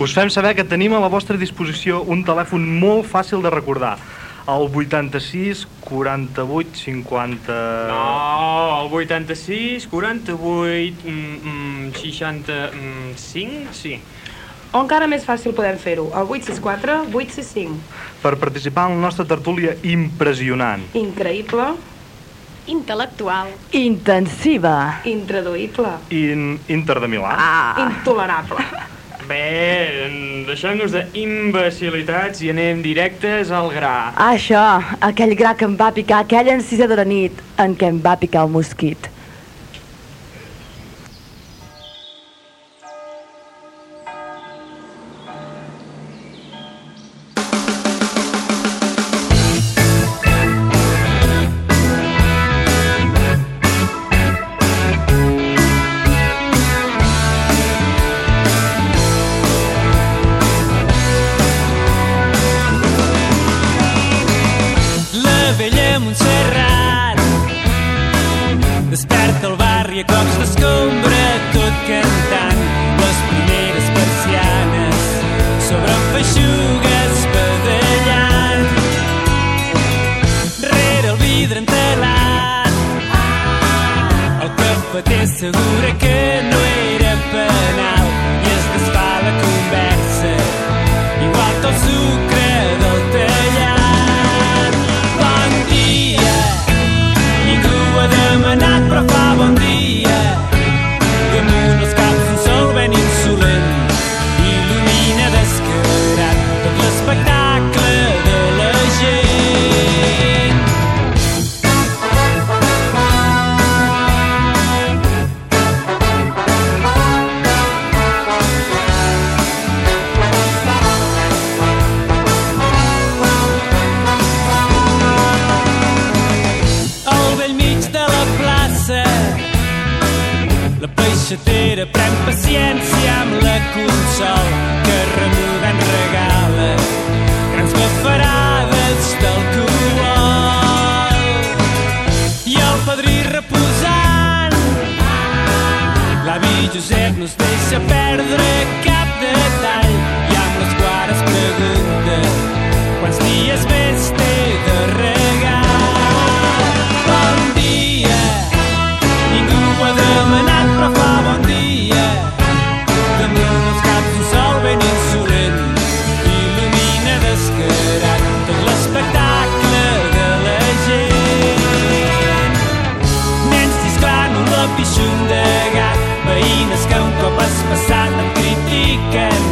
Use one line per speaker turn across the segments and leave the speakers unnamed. us fem saber que tenim a la vostra disposició un telèfon molt fàcil de recordar. El 86 48 50...
No, Ah, el 86, 48, mm, mm, 65, sí.
O encara més fàcil podem fer-ho, el 864 865.
Per participar en la nostra tertúlia impressionant.
Increïble,
Intel·lectual.
Intensiva.
intraduïble,
In Inter de Milà.
Ah,
intolerable.
Bé, mm, deixem-nos d'imbecilitats i anem directes al gra.
això, aquell gra que em va picar aquella encisa de la nit en què em va picar el mosquit.
La vella Montserrat Desperta el barri a cops d'escombra Tot cantant les primeres persianes Sobre feixugues badallant Rere el vidre entelat El cafeter assegura que no era penal I es desfà la conversa Igual que el sucre del tallat Bon dia Ningú ho ha demanat però fa bon dia I amunt els caps un sol ben insolent Il·lumina descarat tot l'espectacle de la gent al vell mig de la plaça. La peixatera pren paciència amb la consol que remugant regala grans bafarades d'alcohol. I el padrí reposant, l'avi Josep no es deixa perdre cap detall i amb les guares pregunta quants dies més té de regal. Bon dia, ningú ho ha demanat però fa bon dia. Damunt els caps un sol ben insolent il·lumina descarat tot l'espectacle de la gent. Nens disclant la pixum de gat, veïnes que un cop has passat et critiquen.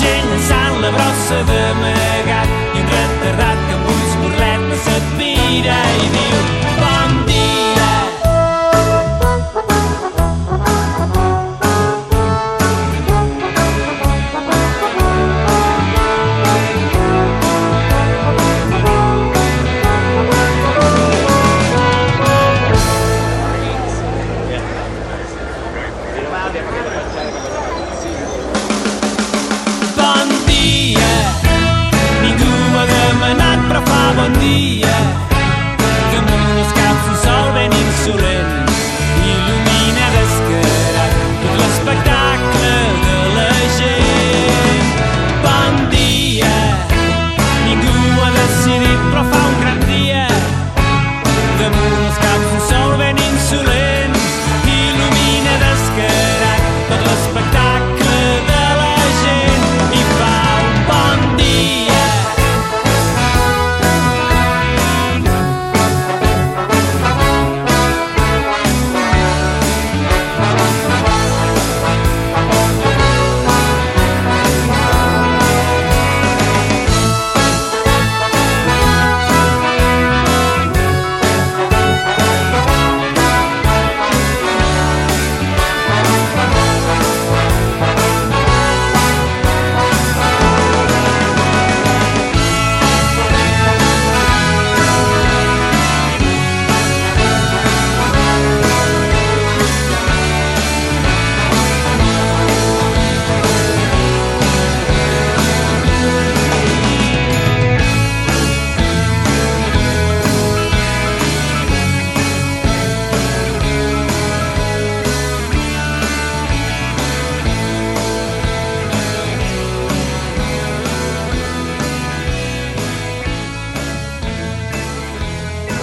Gent llançant la brossa d'amagat i un retardat que amb ulls burletes et mira i diu bon dia. Doncs Bon dia, ningú m'ha demanat però fa bon dia. Damunt els caps un sol ben insolent il·lumina descarat tot l'espectacle de la gent. Bon dia, ningú ho ha decidit però fa un gran dia. Damunt els caps un sol ben insolent il·lumina descarat tot l'espectacle de la gent i fa un bon dia.
Thank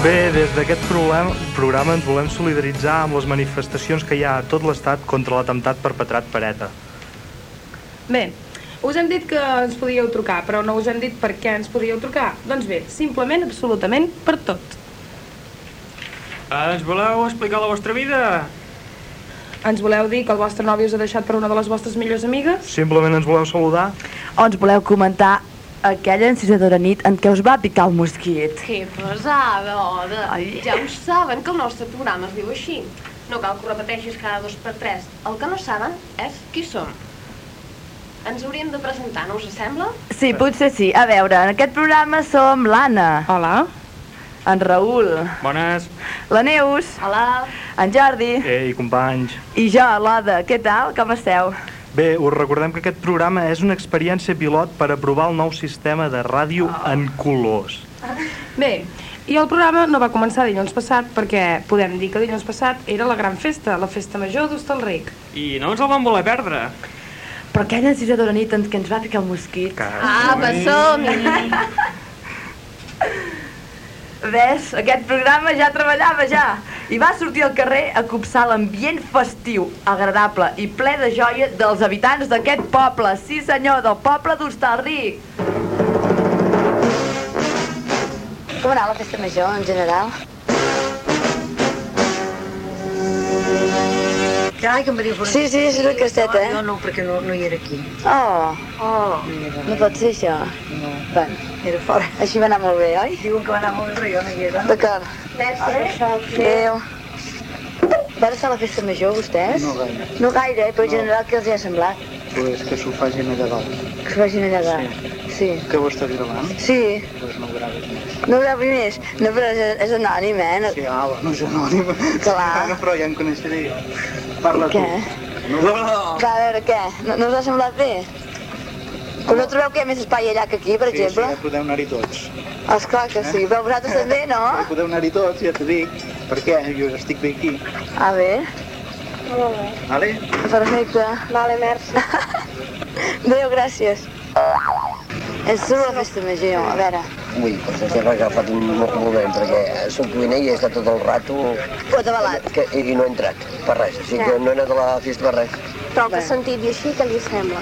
Bé, des d'aquest problema- programa ens volem solidaritzar amb les manifestacions que hi ha a tot l'Estat contra l'atemptat perpetrat per ETA.
Bé, us hem dit que ens podíeu trucar, però no us hem dit per què ens podíeu trucar. Doncs bé, simplement, absolutament, per tot.
Ah, ens voleu explicar la vostra vida?
Ens voleu dir que el vostre nòvio us ha deixat per una de les vostres millors amigues?
Simplement ens voleu saludar?
O ens voleu comentar aquella encisadora nit en què us va picar el mosquit.
Que pesada, Oda. Ja ho saben, que el nostre programa es diu així. No cal que ho repeteixis cada dos per tres. El que no saben és qui som. Ens hauríem de presentar, no us sembla?
Sí,
Eh.
potser sí. A veure, en aquest programa som l'Anna,
Hola.
en Raül,
Bones.
la Neus,
Hola.
en Jordi
Ei, companys.
i jo, l'Oda. Què tal? Com esteu?
Bé, us recordem que aquest programa és una experiència pilot per aprovar el nou sistema de ràdio en colors.
Bé, i el programa no va començar dilluns passat perquè podem dir que dilluns passat era la gran festa, la festa major d'Hostalric.
I no ens el van voler perdre.
Però aquella encisadora nit en què ens va picar el mosquit.
Apa, Ah, som-hi.
Ves, aquest programa ja treballava ja i va sortir al carrer a copsar l'ambient festiu, agradable i ple de joia dels habitants d'aquest poble. Sí senyor, del poble d'Hostalric.
Com anava la festa major, en general?
Ai, que em va dir
Sí, sí, és una casteta,
No,
eh?
no, perquè no, no hi era aquí.
Oh,
No hi era,
no pot ser això.
no.
Bueno,
Era fora.
així va anar molt bé, oi?
Diuen que va anar molt bé, però jo no hi era.
D'acord. Adéu. Van estar a la festa major, vostès?
No gaire.
No gaire, eh? però en general què els hi ha semblat?
Pues que s'ho facin allà dalt.
Que es vagin allà dalt. Sí.
Que ho estàs gravant?
Sí,
Pues Doncs no ho graves més.
no grau primers. No, però és, és anònim, eh? No...
Sí, ala, no Ah, és anònim.
Clar.
No, però ja em coneixeré jo. Parla
Què?
tu. No, no, no.
Va, a veure, què? No, no us ha semblat bé? Però no trobeu que hi ha més espai allà que aquí, per
Sí, sí,
exemple?
ja podeu anar-hi tots. Eh?
Esclar que sí, però vosaltres també, no?
Ja podeu anar-hi tots, ja t'ho dic. Per què? Jo estic bé aquí.
A veure.
Vale?
Perfecte. Vale, merci. Adéu, gràcies. És sobre la festa major, a veure.
Ui, doncs estem agafat un mo- moment, perquè soc cuiner i he estat tot el rato...
Pot avalat.
Que, I no he entrat, per res. O sigui que no he anat a la festa per res.
Però que sentit i així, que li sembla?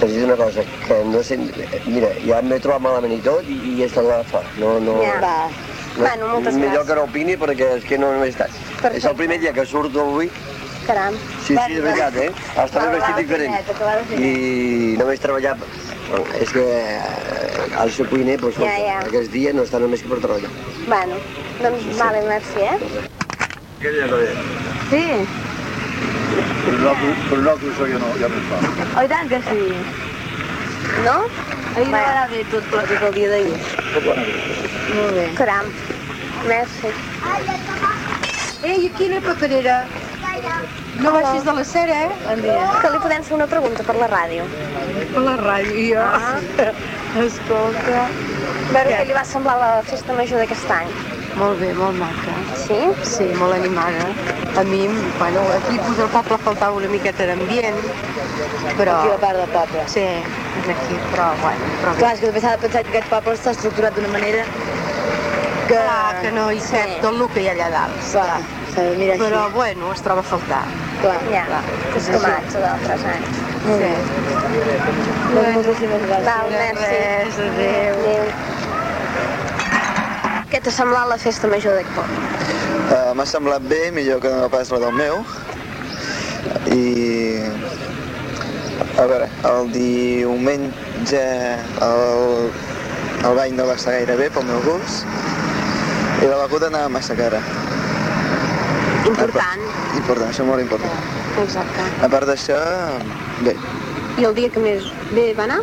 T'he dit una cosa, que no sé... Mira, ja m'he trobat malament i tot i, i he estat allà fora. No, no...
Va.
No,
Bueno, moltes
millor
gràcies.
que no opini perquè és que no, no he estat. És el primer dia que surto avui.
Caram.
Sí, sí, de veritat, eh? Està ben
Va, va,
vestit
va,
diferent.
finet, que va, va, finet.
I només treballar... És que eh, al ser cuiner, doncs,
Ja, ja.
aquests dies no està només que per treballar.
Bueno, doncs vale, merci, eh?
Aquella no era.
Sí.
Però no, això jo no, ja no fa.
Oi Oh, tant que sí.
No?
Ahir no va anar bé tot, però tot el dia d'ahir.
Molt bé. Caram. Merci.
Ei, aquí la paperera. No baixis de la cera, eh?
Que li podem fer una pregunta per la ràdio. Ah.
Per la ràdio, jo. Escolta.
A veure què li va semblar la festa major d'aquest any.
Molt bé, molt maca.
Sí?
Sí, molt animada. A mi, bueno, aquí pues, al poble faltava una miqueta d'ambient, però...
Aquí la part del poble.
Sí, és aquí, però bueno, però bé.
Clar, és que també s'ha de pensar que aquest poble està estructurat d'una manera que...
Clar, que no hi sap
Sí.
tot el que hi ha allà dalt.
Clar, se mira així.
Però bueno, es troba a faltar.
Clar,
Ja,
clar. Acostumats a d'altres anys.
Sí.
Doncs moltíssimes gràcies. Val, merci.
Res, adéu.
Adéu. Què t'ha semblat la festa major d'aquest poble?
Uh, M'ha semblat bé, millor que no pas la del meu. I... A veure, el diumenge el, el bany no va estar gaire bé pel meu gust i la beguda anava massa cara.
Important.
Important, això molt important.
Exacte.
A part d'això, bé,
I el dia que més bé va anar?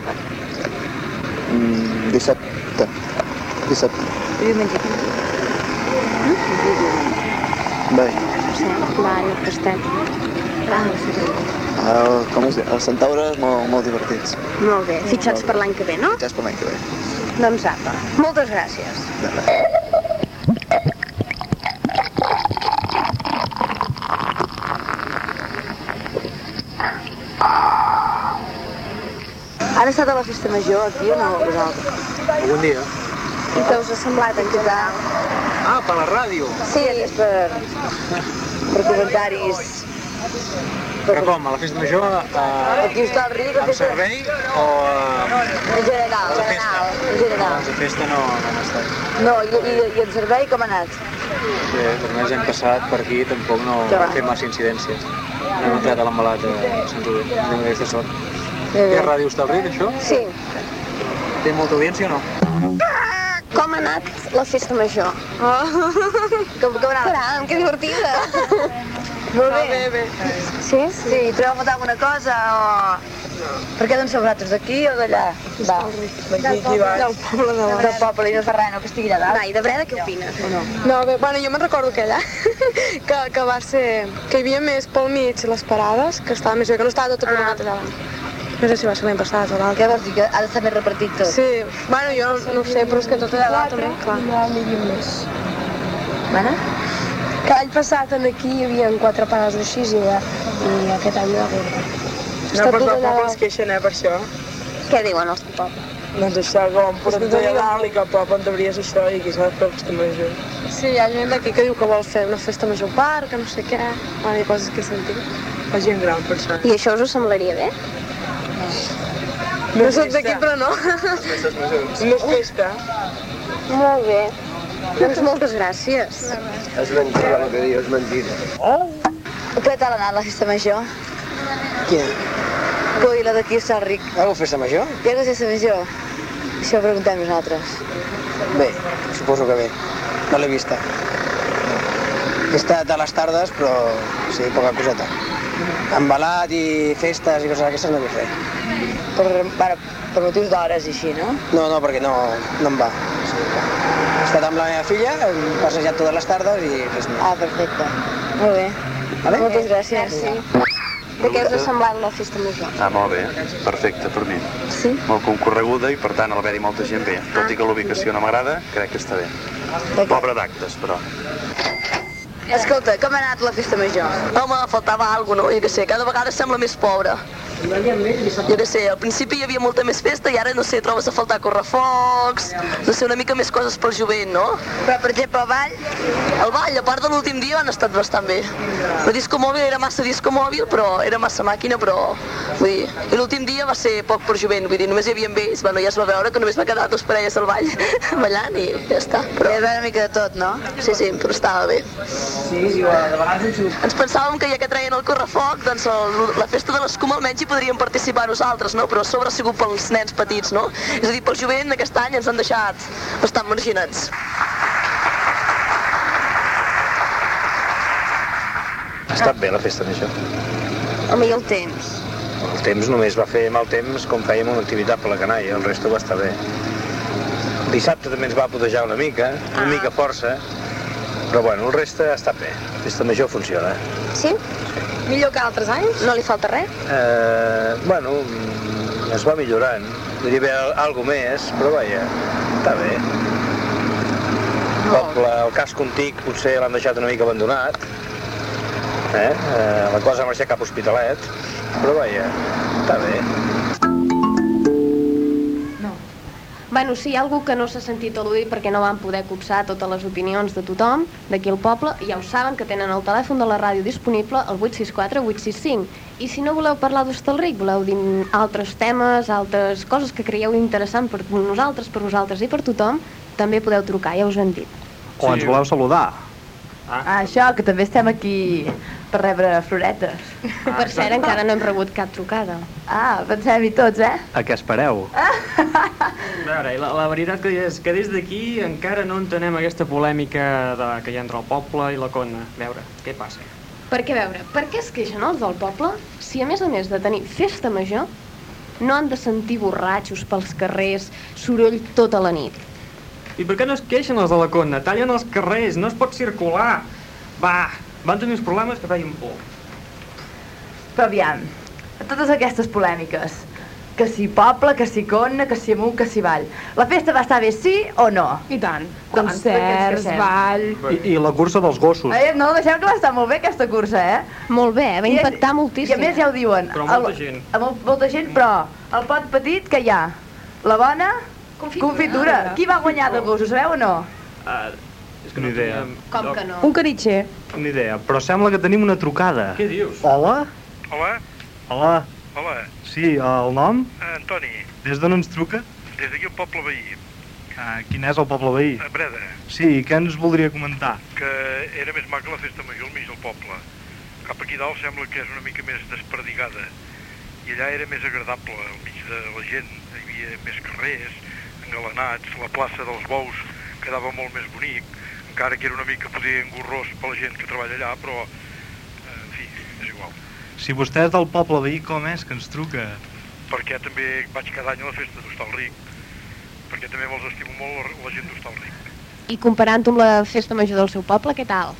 mm, dissabte. Dissabte. Diumenge. Bé,
Sí, va, i el castet.
Ah,
el, com es diu? Els centaures molt, molt divertits.
Molt bé, fitxats per l'any que ve, no?
Ja és per l'any que ve.
Doncs apa. Moltes gràcies. Han estat a la festa major aquí o no, vosaltres?
Bon dia.
I què us ha semblat en total?
Ah, per la ràdio.
Sí, és per, per comentaris.
Però com, a la festa major, a,
Aquí està el riu, la
amb
festa
servei o a,
en general, en general, en general.
a festa no, no han estat?
No, i, i, i en servei com ha anat?
Bé, només hem passat per aquí, tampoc no
Ja va.
hem fet massa incidències. No hem entrat a l'embalat de Sant Rubén, tenim aquesta sort.
Bé,
Què
bé.
ràdio està obrint, això?
Sí.
Té molta audiència o no?
Com ha anat la festa major? Oh. Com, com ha anat? Caram, que divertida! Molt bé. bé, bé. Sí? Sí, trobeu a faltar alguna cosa o... Per què doncs sou vosaltres d'aquí o d'allà? Va. D'aquí qui vas? Del poble de Del poble i no fa res, no, que estigui allà dalt.
Dai, de Breda, què opines?
No, bé, bueno, jo me'n recordo que allà, que, que va ser... que hi havia més pel mig les parades, que estava més bé, que no estava tot acumulat allà davant. No sé si va ser l'any passat o l'altre.
Què vols dir, que ha d'estar més repartit tot?
Sí, bueno, jo no, no ho sé, però és que tot allà dalt també, clar.
Mana?
Que l'any passat en aquí hi havia quatre parades o així i, i aquest any no hi ha hagut.
No, però tot el poble es queixen, eh, per això.
Què diuen els del poble?
Doncs això, com, pues
que
que t'hi
t'ho
dalt i que el poble on t'obries això i que s'ha de fer el costum major.
Sí, hi ha gent d'aquí que diu que vol fer una festa major al parc, que no sé què... Bueno, hi ha coses que he sentit.
La gent gran, per això.
I això us ho semblaria bé? No soc d'aquí, però no.
No és festa.
Molt bé. Doncs moltes gràcies.
És mentida, el que dius, és mentida.
Oh. Què tal ha anat la festa major?
Què?
Tu i la d'aquí està ric.
Algú festa major?
Què és la festa major? Això ho preguntem nosaltres.
Bé, suposo que bé. No l'he vista. He estat a les tardes, però sí, poca coseta. Embalat i festes i coses d'aquestes no vull fer.
Per, per, per motius d'hores i així, no?
No, no, perquè no, no em va. Sí, he estat amb la meva filla, hem passejat totes les tardes i res més.
Ah, perfecte. Molt bé.
Vale?
Moltes gràcies. Merci. De què us ha semblat la festa major?
Ah, molt bé, perfecte per mi.
Sí?
Molt concorreguda i per tant al haver-hi molta gent bé. Tot i que l'ubicació no m'agrada, crec que està bé. Pobre d'actes, però.
Escolta, com ha anat la festa major? Home, faltava alguna cosa, no? Jo què sé, cada vegada sembla més pobra. Jo què sé, al principi hi havia molta més festa i ara, no sé, trobes a faltar correfocs, no sé, una mica més coses pel jovent, no? Però, per exemple, el ball? El ball, a part de l'últim dia, han estat bastant bé. La disco mòbil era massa disco mòbil, però era massa màquina, però... Vull dir, i l'últim dia va ser poc per jovent, vull dir, només hi havia ells, bueno, ja es va veure que només va quedar dos parelles al ball, ballant i ja està. Però... Hi va una mica de tot, no? Sí, sí, però estava bé.
Sí, sí, de vegades ens ho...
Ens pensàvem que ja que traien el correfoc, doncs el, la festa de l'escuma almenys hi podríem participar nosaltres, no? Però a sobre ha sigut pels nens petits, no? És a dir, pel jovent aquest any ens han deixat bastant marginats.
Ha estat bé la festa major.
Home, i el temps?
El temps només va fer mal temps com fèiem una activitat per la canalla, el resto va estar bé. Dissabte també ens va podejar una mica, una
Ah.
mica força, però bueno, el reste ha estat bé. La festa major funciona.
Sí? Millor que altres anys? No li falta res?
Eh, bueno, mm, es va millorant. Podria haver al- algo més, però vaja, està bé. El Poble, el cas Contic potser l'han deixat una mica abandonat. Eh? Eh, la cosa ha marxat cap a Hospitalet, però vaja, està bé.
Bueno, sí, hi ha algú que no s'ha sentit al·ludir perquè no van poder copsar totes les opinions de tothom d'aquí al poble, ja ho saben que tenen el telèfon de la ràdio disponible al 864-865. I si no voleu parlar d'Hostalric, voleu dir altres temes, altres coses que creieu interessant per nosaltres, per vosaltres i per tothom, també podeu trucar, ja us ho hem dit.
O ens voleu saludar.
Ah, això, que també estem aquí per rebre floretes.
Ah, per cert, encara no hem rebut cap trucada.
Ah, pensem-hi tots, eh?
A què espereu?
A veure, i la, la veritat que és que des d'aquí encara no entenem aquesta polèmica de, que hi ha entre el poble i la Cona. A veure, què passa?
Perquè, a veure, per què es queixen els del poble si, a més a més de tenir festa major, no han de sentir borratxos pels carrers, soroll tota la nit?
I per què no es queixen els de la Cona? Tallen els carrers, no es pot circular. Va, van tenir uns problemes que feien por.
Però aviam, a totes aquestes polèmiques, que si poble, que si conna, que si amunt, que si vall, la festa va estar bé sí o no?
I tant.
Doncs per què ens
Concerts,
queixem?
ball...
I, I la cursa dels gossos.
Eh, no, deixem que va estar molt bé aquesta cursa, eh?
Molt bé, va
impactar
moltíssim.
I a més ja ho diuen.
Però molta
el-
gent.
a mol- molta gent, però el pot petit que hi ha. La bona...
Confitura.
Ah,
Qui va guanyar de gos, ho sabeu o no?
Uh,
Ah, És que no Ni idea.
Com que no?
Un caritxer.
Ni idea, però sembla que tenim una trucada.
Què dius?
Hola?
Hola,
Hola.
hola,
Sí, el nom?
Antoni,
Des d'on ens truca?
des d'aquí un poble veí,
Ah, quin és el poble veí?
a Breda,
Sí, i què ens voldria comentar?
que era més maca la festa major al mig del poble. Cap aquí dalt sembla que és una mica més desperdigada, i allà era més agradable, al mig de la gent, hi havia més carrers, engalanats, la plaça dels Bous quedava molt més bonic, encara que era una mica poder engorrós per la gent que treballa allà, però, eh, en fi, és igual.
Si vostè és del poble veí, com és que ens truca?
perquè també vaig cada any a la festa d'Hostalric, perquè també me'ls estimo molt la gent d'Hostalric.
I comparant-ho amb la festa major del seu poble, què tal?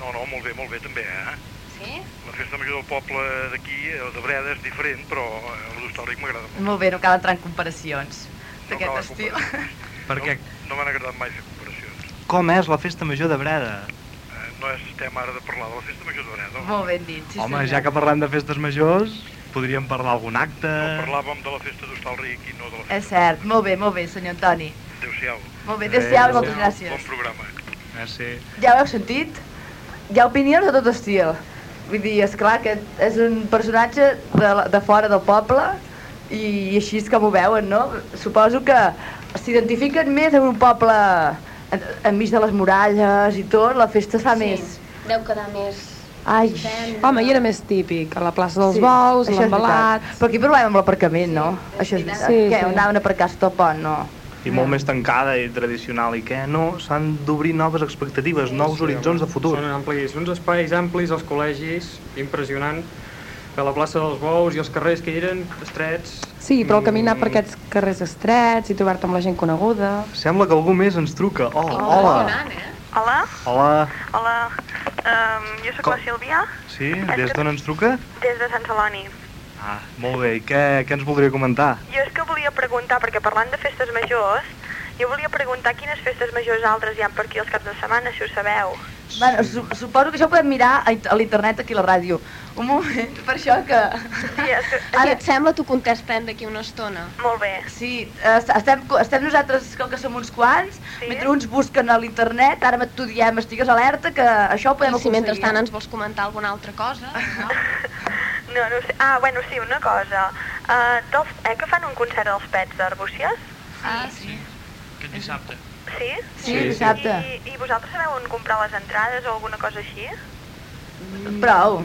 No, no, molt bé, molt bé també, eh?
Sí?
La festa major del poble d'aquí, eh, de Breda, és diferent, però eh, la d'Hostalric m'agrada molt.
Molt bé, no cal entrar en comparacions
cal
d'aquest estil.
Per què?
No m'han agradat mai fer comparacions.
Com és la festa major de Breda?
Eh, no és tema ara de parlar de la festa major de Breda.
Molt ben dit, sí
Home,
senyor.
ja que parlem de festes majors, podríem parlar algun acte...
No parlàvem de la festa d'Hostalric i no de la
És cert, molt bé, molt bé, senyor Antoni.
festa. Adéu-siau.
Molt bé, adéu-siau i moltes gràcies.
Bon programa.
Merci.
Ja ho heu sentit? Hi ha opinions de tot estil. Vull dir, és clar que és un personatge de, la- de fora del poble i, i així és com ho veuen, no? Suposo que s'identifiquen més amb un poble en- enmig de les muralles i tot, la festa es fa sí. més.
Deu quedar més...
Ai,
Home, i era més típic, a la plaça dels
Sí,
sí, Bous,
això és
l'embalat...
veritat. Però aquí parlàvem amb l'aparcament, no? Això és veritat.
Sí,
Què,
sí.
anaven a aparcar sota el pont, no?
I molt més tancada i tradicional, i què? No, s'han d'obrir noves expectatives, nous horitzons de futur.
Són amplis, uns espais amplis als col·legis, impressionant, que la plaça dels Bous i els carrers que hi eren estrets...
Sí, però caminar per aquests carrers estrets i trobar-te amb la gent coneguda...
Sembla que algú més ens truca. Oh, hola.
Hola,
Hola.
hola. Um, jo sóc la Sílvia,
Sí? Des d'on ens truca?
des de Sant Celoni.
Ah, molt bé. I què, què ens voldria comentar?
Jo és que volia preguntar, perquè parlant de festes majors, jo volia preguntar quines festes majors altres hi ha per aquí els caps de setmana, si ho sabeu.
Bueno, su suposo que això ho podem mirar a, int- a l'internet aquí a la ràdio. Un moment, per això que...
Sí, és que...
Si et sembla, t'ho contestem d'aquí una estona.
Molt bé.
Sí, est- estem, co- estem nosaltres, com que som uns quants, sí. mentre uns busquen a l'internet, ara tu diem, estigues alerta, que això ho podem
I si
aconseguir.
mentrestant ens vols comentar alguna altra cosa?
No, no ho sé. Ah, bueno, sí, una cosa. Uh, dels... eh, que fan un concert dels pets d'Arbúcies?
Ah, sí.
Aquest dissabte. Sí?
Sí, Sí, dissabte.
I, I vosaltres sabeu on comprar les entrades o alguna cosa així?
Mm, Prou.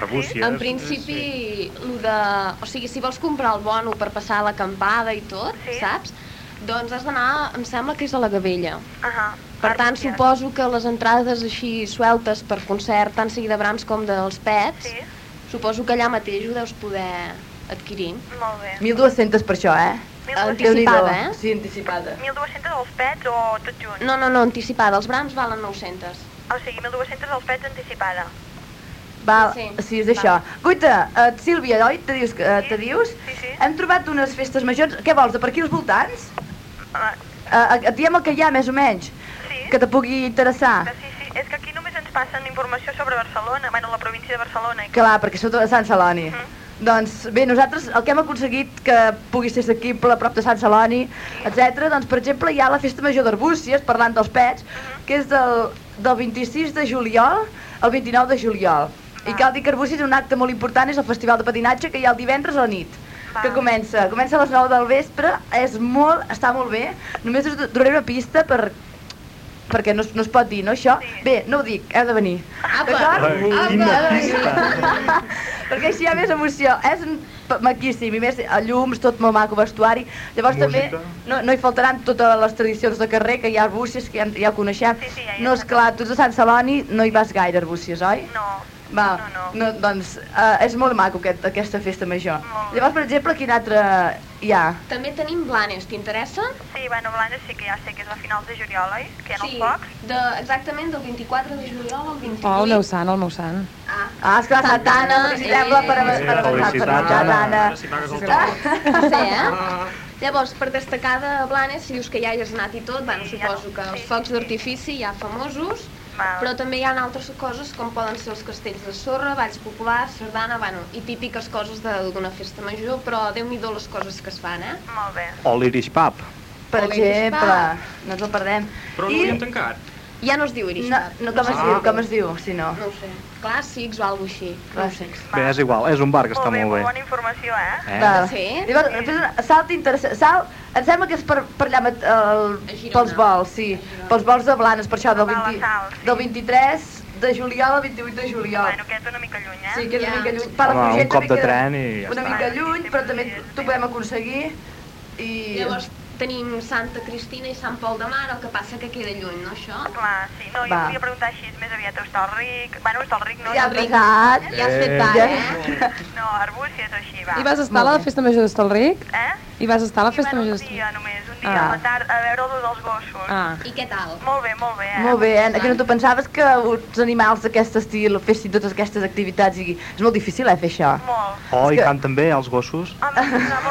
Arbúcies.
En principi, lo de... O sigui, si vols comprar el bono per passar l'acampada i tot, sí. saps? Doncs has d'anar, em sembla que és a la Gavella.
Ahà.
Per tant, suposo que les entrades així sueltes per concert, tant sigui de Brahms com dels Pets, sí. suposo que allà mateix ho deus poder adquirir.
Molt bé.
1.200 per això, eh?
Anticipada, eh?
Sí, anticipada.
1.200 dels pets o tot junt?
No, no, no, anticipada. Els Brahms valen 900.
O sigui, 1.200 dels pets anticipada.
Val, sí,
Sí,
sí és això. Guita, eh, Sílvia, oi? Te dius? que- Eh, te dius? Sí, sí. Hem trobat unes festes majors. Què vols, de per aquí als voltants? Eh, et diem el que hi ha, més o menys. Sí. Que te pugui interessar.
Sí, sí, és que aquí només ens passen informació sobre Barcelona, bueno, la província de Barcelona. i-
eh? Clar, perquè sou de Sant Celoni. Doncs bé, nosaltres el que hem aconseguit que pugui ser assequible a prop de Sant Celoni, etc. Doncs, per exemple, hi ha la Festa Major d'Arbúcies, parlant dels pets, que és del, del 26 de juliol al 29 de juliol. I cal dir que Arbúcies un acte molt important és el Festival de Patinatge que hi ha el divendres a la nit. Que comença, comença a les 9 del vespre, és molt, està molt bé. Només us donaré una pista per, perquè no, es- no es pot dir, no, això? Bé, no ho dic, heu de venir.
Apa!
D'acord?
Apa! Quina
Heu de venir.
pista!
eh? perquè així hi ha més emoció. És un pa- maquíssim, i més eh, llums, tot molt maco, vestuari. Llavors
Música.
també no, no hi faltaran totes les tradicions de carrer, que hi ha arbúcies, que ja, ja ho coneixem. Sí, sí, ja, ja no, esclar, tu ets de Sant Celoni no hi vas gaire, arbúcies, oi?
No.
Va, no, no. no doncs eh, és molt maco aquest, aquesta festa major. Llavors, per exemple, quin altre hi ha?
També tenim Blanes, t'interessa?
Sí, bueno, Blanes sí que ja sé que és a finals de juliol, oi? Que hi ha
sí, de, exactament del 24 de juliol al 28.
Oh, el meu sant, el meu sant.
Ah, esclar, Santana, felicitem-la per,
Eh,
per, per, per, per,
felicitats, Anna.
Santana.
Si pagues el
Sí, eh? Llavors, per destacar de Blanes, si dius que ja hi has anat i tot, bueno, suposo que els focs d'artifici ja famosos,
Ah.
però també hi ha altres coses com poden ser els castells de sorra, balls populars, sardana, bueno, i típiques coses de- d'una festa major, però déu nhi les coses que es fan, eh?
Molt bé.
O l'Irish Pub.
per
O
exemple.
Irispar.
No ens el perdem.
Però no I... l'hauríem tancat.
Ja no es diu Irish
No,
Pub.
no, com es
Ah.
diu, com es diu, si no.
No ho sé. Clàssics o alguna cosa així.
Clàssics.
Bé, és igual, és un bar que està molt bé. Eh?
Va, sí? Llavors, després, una- salt interessant. Salt, em sembla que és per, per allà, mat- el, pels vols, sí. Pels vols de Blanes, per això, del, 20, del 23 de juliol al 28 de juliol. Bueno,
que és una mica lluny, eh?
Sí, que és una
Ja.
mica lluny.
Home,
Palafrugell
un cop
també
de
queda
tren i ja
Una
està.
mica lluny, però també t'ho podem aconseguir. I...
Llavors tenim Santa Cristina i Sant Pol de Mar, el que passa que queda lluny, no, això?
Clar, sí. No, jo
Va.
volia preguntar així més aviat a Hostalric. Bueno, Hostalric no.
Ja ha
Hostalric.
Ah,
passat,
ja has fet Eh. tard,
eh? No, Arbúcies o així, va.
I vas estar a la festa major d'Hostalric?
Eh?
I vas estar a la festa major
Un dia només, un dia a la
Ah.
tarda, a veure lo dels gossos.
Ah.
I què tal?
Molt bé, molt bé. Eh?
Molt bé, eh? Que no t'ho pensaves que els animals d'aquest estil fessin totes aquestes activitats i és molt difícil, eh, fer això.
Oh,
És
i
que-
canten bé els gossos.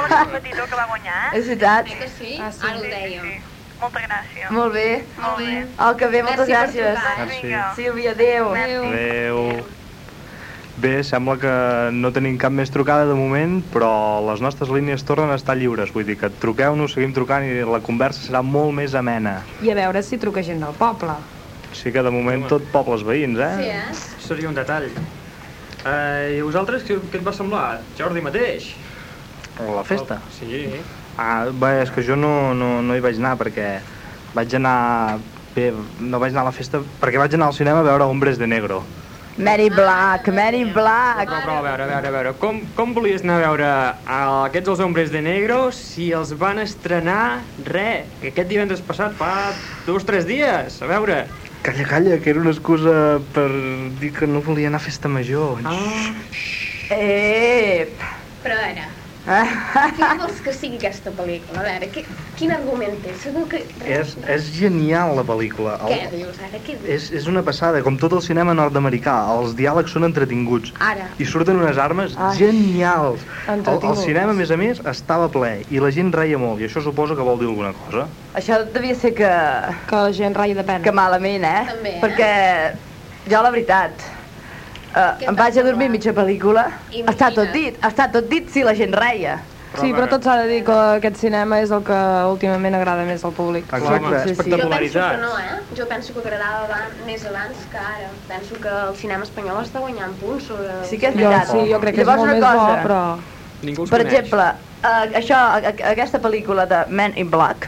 eh?
És veritat.
Que sí? Ah, sí? Ara ho dèiem.
Molta gràcia.
Molt bé.
Molt bé.
Oh, que bé, moltes
Merci per
gràcies.
trucar,
eh? Merci.
Sílvia, adéu.
Adéu. Bé, sembla que no tenim cap més trucada de moment, però les nostres línies tornen a estar lliures. Vull dir que truqueu-nos, seguim trucant i la conversa serà molt més amena.
I a veure si truca gent del poble.
Sí que de moment tot pobles veïns, eh?
Seria un detall. Eh, I a vosaltres què, què et va semblar? Jordi mateix?
La festa.
Sí.
Ah, bé, és que jo no, no, no hi vaig anar perquè vaig anar... Bé, no vaig anar a la festa perquè vaig anar al cinema a veure Hombres de Negro.
Mary Black, Mary Black.
Però, però a veure, a veure, a veure, com, com volies anar a veure eh, aquests els hombres de negro si els van estrenar, re, que aquest divendres passat fa dos o tres dies, a veure.
Calla, calla, que era una excusa per dir que no volia anar a festa major.
Ah.
Ep!
Però a veure, què vols que sigui aquesta pel·lícula? A veure, qui, quin argument té? Segur que...
És, és genial la pel·lícula.
Què dius ara? Què dius?
És, és una passada, com tot el cinema nord-americà, els diàlegs són entretinguts.
Ara.
I surten unes armes genials. El, el
entretinguts.
cinema, a més a més, estava ple i la gent reia molt i això suposa que vol dir alguna cosa.
Això devia ser que...
Que la gent ratlla de pena.
Que malament, eh?
També, eh?
Perquè jo, la veritat, eh, em vaig a dormir mitja pel·lícula. Està tot dit, està tot dit si la gent reia.
Sí, però tot s'ha de dir que aquest cinema és el que últimament agrada més al públic.
Jo penso que no, eh? Jo penso que agradava abans, més abans que ara. Penso que el cinema espanyol està guanyant punts sobre...
Ah, Sí que és
Jo,
veritat.
sí, jo crec que és
Llavors,
molt
una
més bo,
cosa.
però...
Ningú
Per exemple, eh, això, a- a- aquesta pel·lícula de Men in Black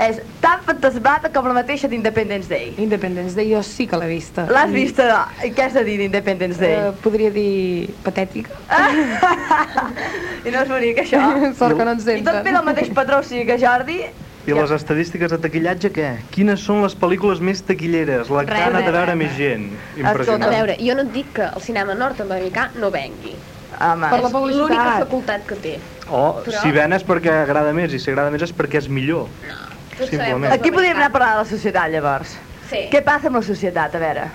és tan fantasmada com la mateixa d'Independence Day.
Independence Day jo sí que l'he vista.
L'has vista? no? I Què has de dir d'Independence Day?
Eh, podria dir patètica.
I no és bonic, això?
Sort que no ens
I tot
senten.
ve del mateix patró, o sigui que Jordi...
I les estadístiques de taquillatge, què? Quines són les pel·lícules més taquilleres? La que
Res,
ha anat a
res,
veure
res.
més gent.
Escolta,
Impressionant.
a veure, jo no et dic que el cinema nord-americà no vengui.
Home.
Per la
És
publicitat.
l'única facultat que té.
O
Però-
Oh, si ven és perquè agrada més, i si agrada més és perquè és millor.
Tots sabem
Simplement.
que
Aquí podríem anar a parlar de la societat, llavors.
Sí.
Què passa amb la societat, a veure?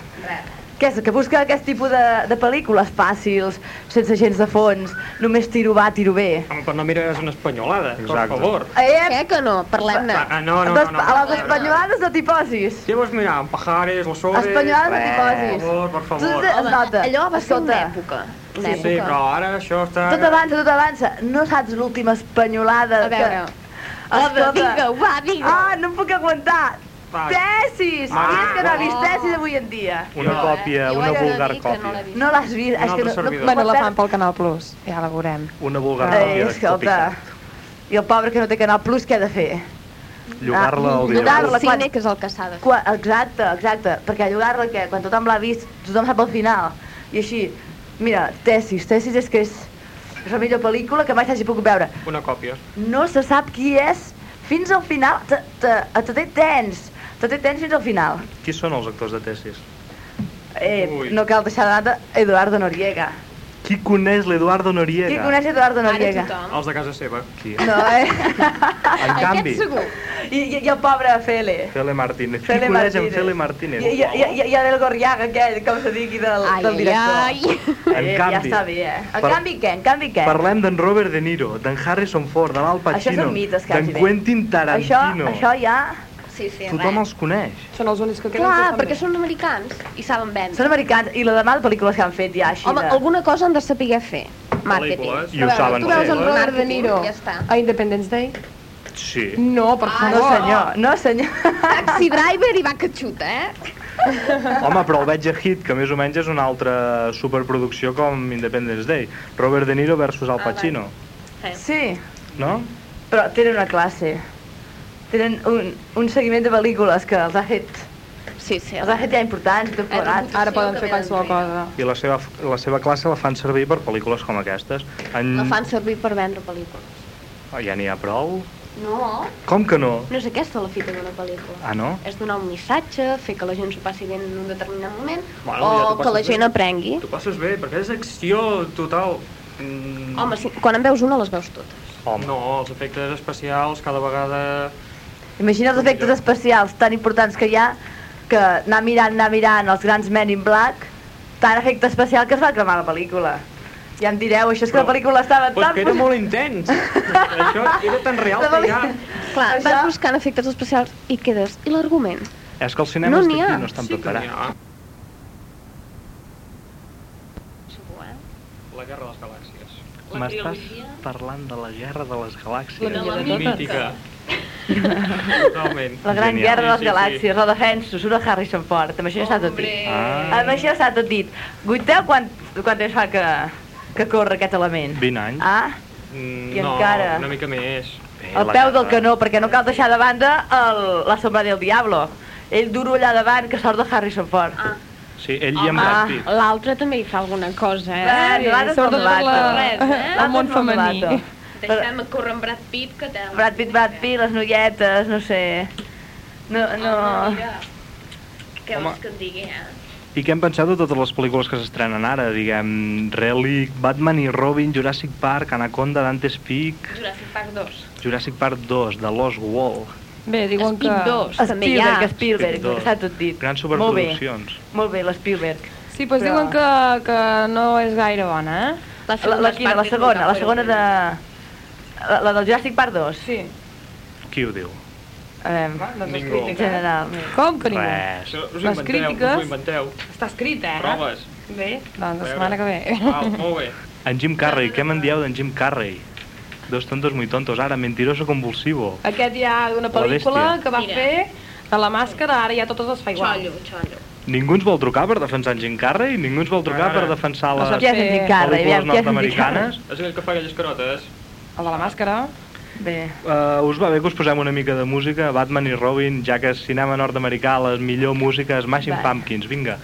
Què és, que busca aquest tipus de, de pel·lícules fàcils, sense gens de fons, només tiro va, tiro bé.
Home, però no mires una espanyolada,
Exacte.
per favor.
Eh,
Què
que no? Parlem-ne.
Ah, no, no, no,
Doncs
no,
a les
no, no.
espanyolades no t'hi posis.
Què vols mirar? En pajares, los sobres...
Espanyolades no t'hi
Per
posis.
favor, per favor.
Tot es nota.
allò va ser una
Escolta.
època.
Sí, sí, però ara això està...
Tot avança, tot avança. No saps l'última espanyolada
A veure.
que...
A veure, digue-ho, va, digue-ho.
Ah, no em puc aguantar.
Va.
Tesis!
Va.
Dies que no ha vist
Oh.
tesis avui en dia.
Una
eh?
còpia, una vulgar còpia.
No l'has vist,
Un
és que
altre
no, no,
servidor. Bueno, la fan
pel Canal Plus, ja la veurem.
Una vulgar
Eh,
còpia
escolta,
d'Extopicat.
i el pobre que no té Canal Plus, què ha de fer? Ah,
Llogar-la al dia.
Llogar-la quan...
que és el que s'ha de
Quan, exacte, exacte, perquè llogar-la què? Quan tothom l'ha vist, tothom sap el final. I així, mira, tesis, tesis és que és, és la millor pel·lícula que mai s'hagi pogut veure.
Una còpia.
No se sap qui és fins al final, te, te, te té tens, te té tens fins al final.
Ah.
Qui són els actors de tesis?
Eh,
Ui.
no cal deixar d'anar de Eduardo Noriega.
Qui coneix l'Eduardo Noriega?
Qui coneix Eduardo Noriega?
Els de casa seva.
Qui?
No, eh?
En canvi,
I, i, i el pobre Fele.
Fele Martínez.
Fele
Qui coneix en
Martínez.
Fele
I,
Martínez?
i, i, i, i Adel Gorriaga, aquell, com se digui, del, del director.
ai,
En
Eh, ja
canvi,
està bé, eh? En
per-
canvi què? En canvi què?
Parlem d'en Robert De Niro, d'en Harrison Ford, de l'Al
Això
Pacino,
són mites que
d'en
hagi dit.
Quentin
Això,
Tarantino.
això ja...
Sí, sí,
Tothom els coneix.
Són els únics que
Clar, perquè són americans i saben vendre.
Són americans i la demà de pel·lícules que han fet ja així
Home,
de...
alguna cosa han de saber fer. Màrqueting.
Pel·lícules. I ho saben
Tu veus
fer.
eh?
en Robert De
Màrqueting,
Niro
ja està.
a Independence Day?
Sí.
No, per
Ah,
Ai,
favor.
no, senyor,
no senyor.
Taxi driver i va que xuta, eh?
Home, però el veig a Hit, que més o menys és una altra superproducció com Independence Day. Robert De Niro versus
Ah,
Al Pacino,
Sí,
no?
però tenen una classe. Tenen un, un seguiment de pel·lícules que els ha fet...
Sí, sí.
Els ha fet ja importants, tot plegat.
Ara poden fer qualsevol cosa.
I la seva, la seva classe la fan servir per pel·lícules com aquestes. En...
La fan servir per vendre pel·lícules.
Oh, ja n'hi ha prou?
No,
Com que no?
no és aquesta la fita d'una pel·lícula.
Ah, no?
És donar un missatge, fer que la gent s'ho passi bé en un determinat moment,
Bueno,
o
ja t'ho passes
que la
bé.
gent aprengui.
T'ho passes bé, perquè és acció total. Mm,
Home, si, quan en veus una les veus totes.
Home.
No, els efectes especials cada vegada...
Imagina els efectes especials tan importants que hi ha, que anar mirant, anar mirant els grans Men in Black, tant efecte especial que es va cremar la pel·lícula. Ja em direu, això és que la pel·lícula estava
Però és
tan...
que era molt intens. Això era tan real que ja...
Clar, Això... vas buscant efectes especials i quedes... I l'argument?
És que els cinemes
No n'hi
d'aquí
ha.
no estan
Sí que
preparats.
La guerra de les galàxies.
M'estàs parlant de la guerra de les galàxies.
La trilogia mítica. Totalment.
La gran
Genial.
guerra de les
Sí, sí,
galàxies, la defenso, surt el Harrison Ford, amb això ja està tot dit.
Ah.
Amb això està tot dit. Guiteu quant, quant temps fa que, que corre aquest element?
20 anys.
Ah,
Mm,
I
no,
encara.
una mica més.
Eh,
el peu del canó, perquè no cal deixar de banda el, la sombra del diablo. Ell duro allà davant, que sort de Harrison Ford. Ah.
Sí, ell i en Brad Pitt.
l'altre també hi fa alguna cosa, eh?
Va, nosaltres
sobretot
som
per la...
vatos.
Res, eh?
El món femení.
Deixem córrer amb Brad Pitt, que té...
Brad Pitt, Brad Pitt, les noietes, no sé... No, no...
Ah, Què
Home.
vols que et digui, eh?
I què en penseu de totes les pel·lícules que s'estrenen ara? Diguem, Relic, Batman i Robin, Jurassic Park, Anaconda, Dante's Peak,
Jurassic Park 2.
Jurassic Park 2, The Lost Wall.
Bé, diuen que...
Speed 2, també hi ha. Ah, Spielberg, Spielberg,
Dos.
està tot dit.
Grans
Molt bé.
superproduccions.
Molt bé, l'Spielberg.
Sí, doncs
Però-
diuen que, que no és gaire bona, eh?
La, la, la, quina, la segona, la segona de... La, la del Jurassic Park 2? Sí.
Qui ho diu?
Eh,
doncs
Ningú.
En general.
Com que ningú?
Res.
Us ho
Les
inventeu,
crítiques-
Us ho inventeu.
Està escrit, eh?
Proves.
Bé.
Doncs la
Veure.
setmana que ve.
Val, molt bé.
En Jim Carrey, què me'n dieu d'en Jim Carrey? Dos tontos muy tontos, ara, mentiroso convulsivo.
Aquest hi ha d'una
La
pel·lícula
bèstia.
que va fer de la màscara, ara ja totes es fa igual.
Xollo, xollo.
Ningú ens vol trucar per defensar en Jim Carrey? Ningú ens vol trucar per defensar les
Qui és en Jim Carrey?
pel·lícules
Aviam, qui és en Jim
nord-americanes?
És aquell que fa aquelles carotes.
El de la màscara.
Bé.
Uh, us va bé que us posem una mica de música, Batman i Robin, ja que és cinema nord-americà, la millor música, Smashing
Va.
Pumpkins, vinga.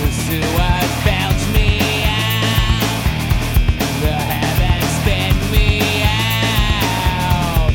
This is what felt me out. The habits spit me out.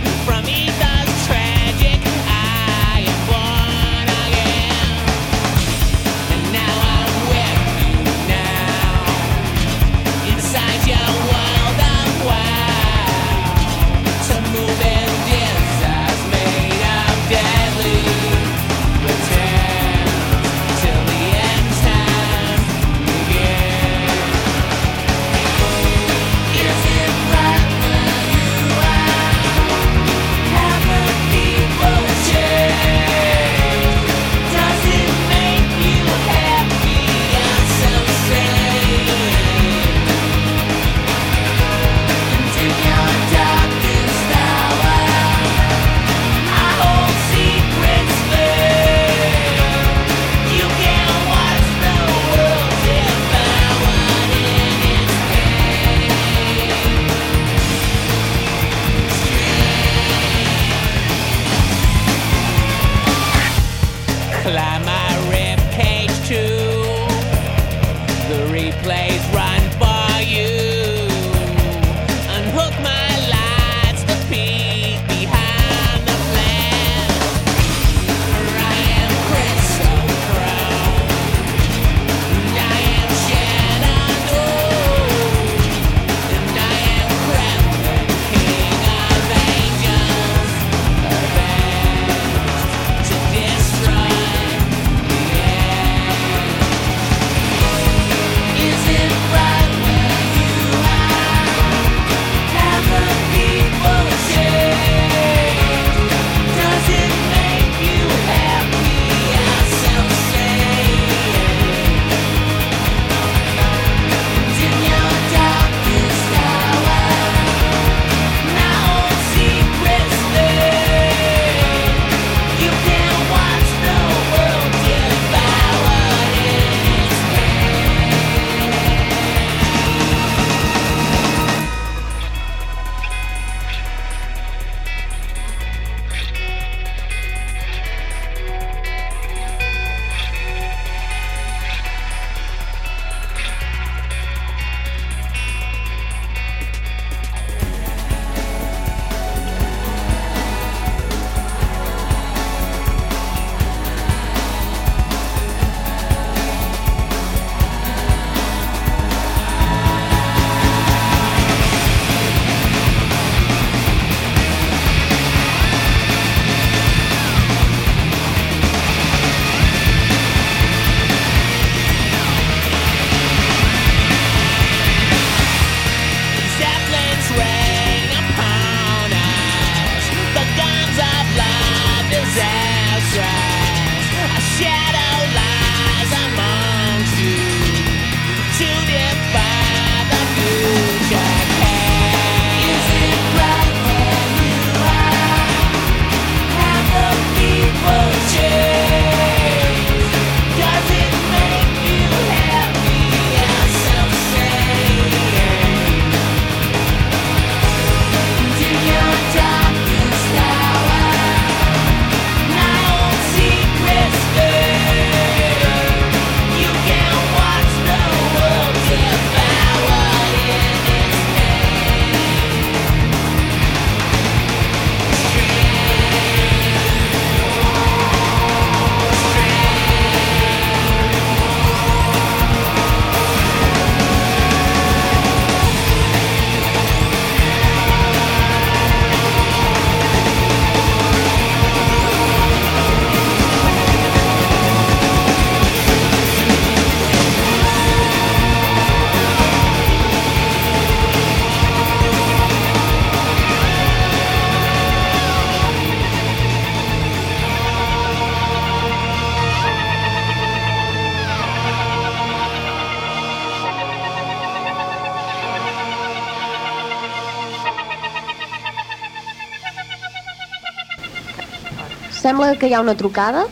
Sembla que hi ha una trucada.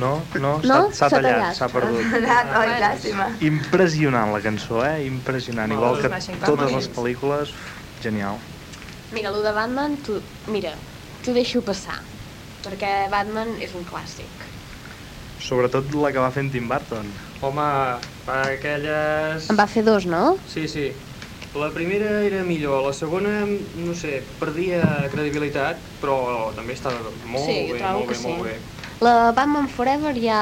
No, no, s'ha
No?
s'ha
S'ha
tallat,
tallat.
s'ha perdut.
Ah, Ai, llàstima.
Impressionant la cançó, eh? Impressionant.
Molt
Igual
bé.
que
Baixen cap
totes
amunt.
les pel·lícules, genial.
Mira, lo de Batman, tu... Mira, t'ho deixo passar. Perquè Batman és un clàssic.
Sobretot la que va fent Tim Burton.
Home, per aquelles...
En va fer dos, no?
Sí, sí. La primera era millor, la segona, no sé, perdia credibilitat, però també estava molt
Sí, jo
bé,
trobo
molt
que
bé, molt
sí.
bé.
La Batman Forever ja...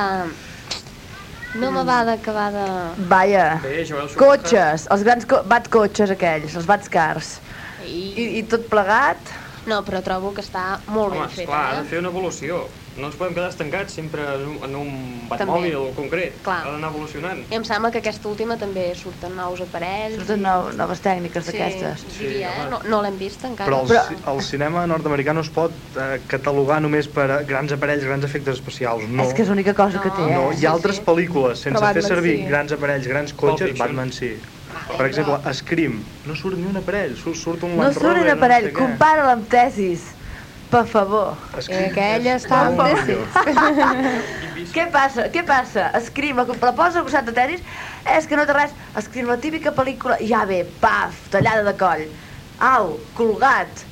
No me va d'acabar de...
Vaja.
Bé, Joel Schumacher.
Cotxes, els grans co batcotxes aquells, els batcars. I, I tot plegat...
No, però trobo que està molt
Home,
ben fet,
esclar, ha
eh?
de fer una evolució. No ens podem quedar estancats sempre en un, en un batmòbil concret.
Clar.
Ha d'anar evolucionant.
I em sembla que aquesta última també surten nous aparells.
Surten nou, noves
Sí,
tècniques d'aquestes.
diria,
Sí,
eh?
home.
No, no l'hem vist encara.
Però el, ci- el cinema nord-americà no es pot eh, catalogar només per eh, grans aparells, grans efectes especials. No.
És que és l'única cosa que té, eh?
No, hi ha altres pel·lícules sense
Però
fer
Batman
servir
sí.
grans aparells, grans cotxes, Batman sí. Per exemple, Scream, no surt ni un aparell, surt, surt un
No
Land
surt
Rover,
en aparell,
no sé què.
compara-la amb tesis. Per favor.
Escriu-
Aquella és estava molt amb millor.
Què passa? Què passa? Escriu, la la posa al costat de tenis, és que no té res, escriu la típica pel·lícula, ja ve, paf, tallada de coll, au, colgat,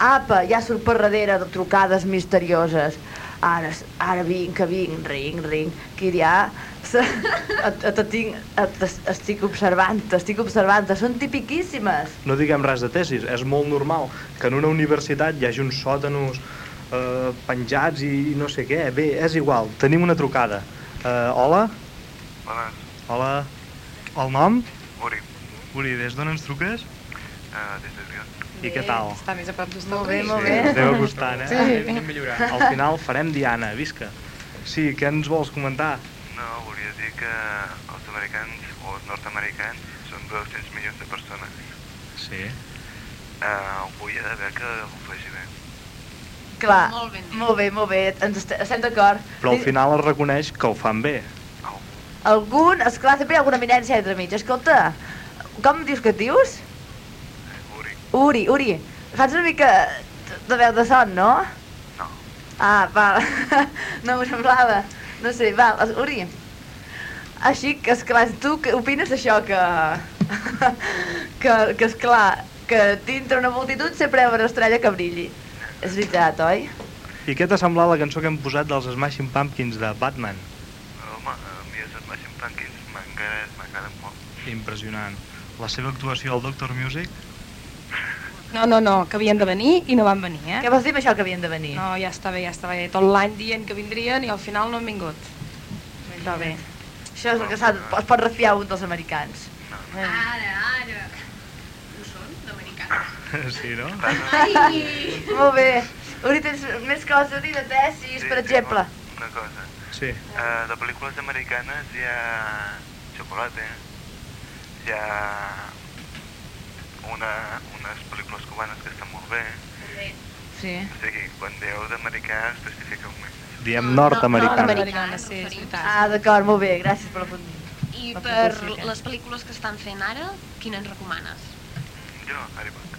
apa, ja surt per darrere de trucades misterioses, ara, s- ara vinc, que vinc, ring, ring, que ja se- et, et, et, tinc, et, estic observant, estic observant, són tipiquíssimes.
No diguem res de tesis, és molt normal que en una universitat hi hagi uns sòtanos eh, penjats i, i no sé què. Bé, és igual, tenim una trucada. Eh, hola?
Hola,
Hola. El nom?
Uri,
Uri, des d'on ens truques?
uh, des de Triat.
I què tal?
Està més a prop d'estar Molt bé,
Sí, Déu costant, eh?
Sí. Anem millorant.
Al final farem Diana, visca. Sí, què ens vols comentar?
No, volia dir que els americans o els nord-americans són 200 milions de persones.
Sí.
Uh, vull ha d'haver que ho faci bé.
Clar, molt ben molt bé, molt bé, ens est estem d'acord.
Però al final es reconeix que ho fan bé.
Algun, esclar, sempre hi ha alguna eminència entre mig. Escolta, com dius que et dius? Uri. Uri, Uri. Fas una mica de veu de son, no? No. Ah, val. no m'ho semblava. No sé, val. es- Uri. Així que, esclar, tu què opines d'això que... que, que, esclar, que dintre una multitud sempre hi ha una estrella que brilli. És veritat, oi?
I què t'ha semblat la cançó que hem posat dels Smashing Pumpkins de Batman?
Home, a mi els Smashing Pumpkins m'encara m'agraden molt.
Impressionant. La seva actuació al Doctor Music?
No, no, no, que havien de venir i no van venir, eh?
Què vols dir amb això que havien de venir?
No, ja està bé, ja està bé. Tot l'any dient que vindrien i al final no han vingut. Està bé.
Això és el que s'ha- es pot refiar un dels americans.
Ara, ara. No són d'americans.
Sí, no?
Ai!
Molt bé. Uri, tens més coses a dir de tesis,
Sí,
per
sí,
exemple?
Una cosa.
Sí.
Uh, de pel·lícules americanes hi ha xocolate, hi ha una, unes pel·lícules cubanes que estan molt bé.
Sí.
O sigui, quan dieu d'americà, especifiqueu més.
Diem nord-americana.
Americana, sí, és veritat.
Ah, d'acord, molt bé, gràcies per la punt.
I
La
per
puntuació que-
les pel·lícules que estan fent ara, quina ens recomanes?
Jo, Aribac.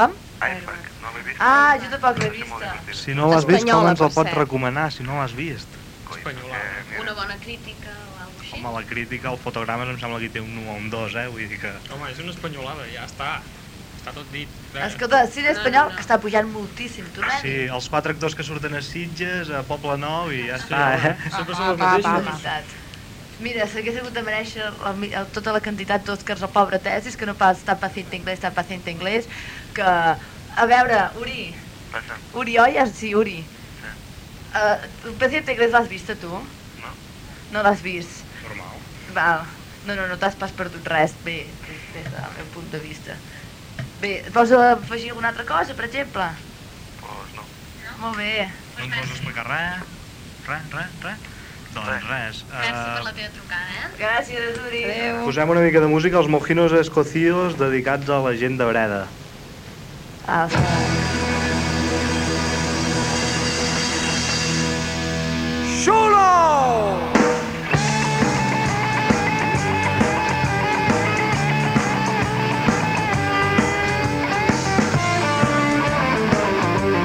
Com?
Aribac, no l'he vist.
Ah, jo tampoc l'he vista.
Si no l'has vist, com
Espanyola,
ens el
per
pots
cert.
recomanar, si no l'has vist?
Espanyola.
Una bona crítica o alguna cosa així?
Home, la crítica, el fotograma em sembla que hi té un 1 o un 2, eh? Vull dir que...
Home, és una espanyolada, ja està. Està tot dit. Eh.
Escolta, cine espanyol que està pujant moltíssim, tu res?
Sí, els quatre actors que surten a Sitges, a Poble Nou i ja està,
home,
eh?
sempre
Ah, són els Pa, pa, pa, mateixos. Mira, s'hagués hagut de mereixer la, mi- el- tota la quantitat d'Òscars al pobre tesis, que no pas tan paciente inglés, tan paciente inglés, que... A veure, Uri,
Passa.
Uri, oi? Ah, Sí, Uri. Uh, paciente inglés l'has vista tu?
No.
No l'has vist?
Normal.
Val. No, no, no t'has pas perdut res, bé, des del meu punt de vista. Bé, et vols afegir alguna altra cosa, per exemple?
Pues no.
Molt bé.
Doncs No ens vols explicar res? Res, res, res? Doncs res. eh,
teva trucada, eh?
Gràcies, Uri. Adéu.
Posem una mica de música als mojinos escocidos dedicats a la gent de Breda.
Ah,
Xulo!
um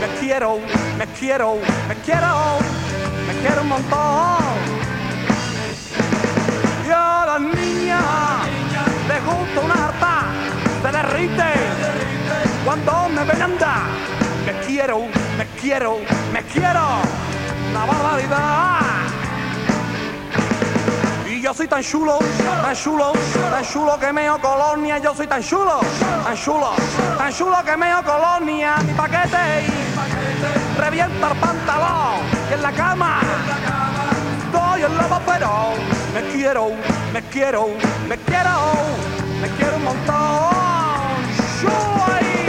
é um quiero, me quiero, me quiero, me quiero un montón. Y a la niña le gusta una harta, se derrite cuando me ven andar. Me quiero, me quiero, me quiero, la barbaridad. Y yo soy tan chulo, tan chulo, tan chulo que meo colonia. Yo soy tan chulo, tan chulo, tan chulo que meo colonia. Mi paquete y revienta el pantalón y en la cama doy el lobo, pero me quiero, me quiero, me quiero, me quiero un montón. Chulo ahí.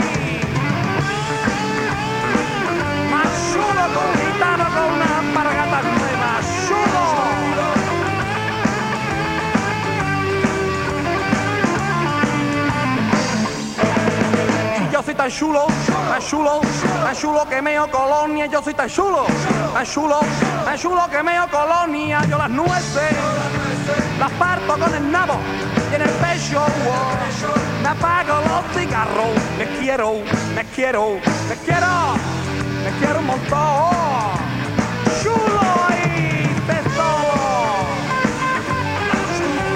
Más chulo que un gitano con una alpargata nueva. Chulo. Y Yo soy tan chulo, tan chulo, tan chulo que meo colonia. Yo soy tan chulo, tan chulo, tan chulo que meo colonia. Yo las nueces las parto con el nabo y en el pecho oh, me apago los cigarros. Me quiero, me quiero, me quiero, me quiero un montón. Chulo y tesoro,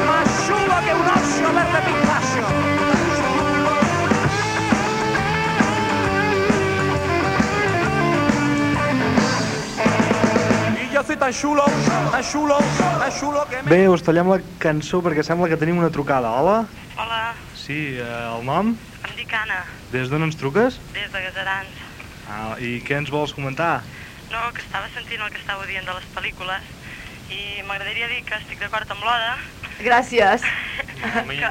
más chulo que un ocio verde Picasso. Y yo soy tan chulo, tan chulo, tan chulo que
Bé, us tallem la cançó perquè sembla que tenim una trucada. Hola?
Hola,
Sí, eh, el nom?
em dic Anna,
Des d'on ens truques?
des de Gaserans.
Ah, I què ens vols comentar?
No, que estava sentint el que estàveu dient de les pel·lícules i m'agradaria dir que estic d'acord amb l'Oda,
Gràcies.
que,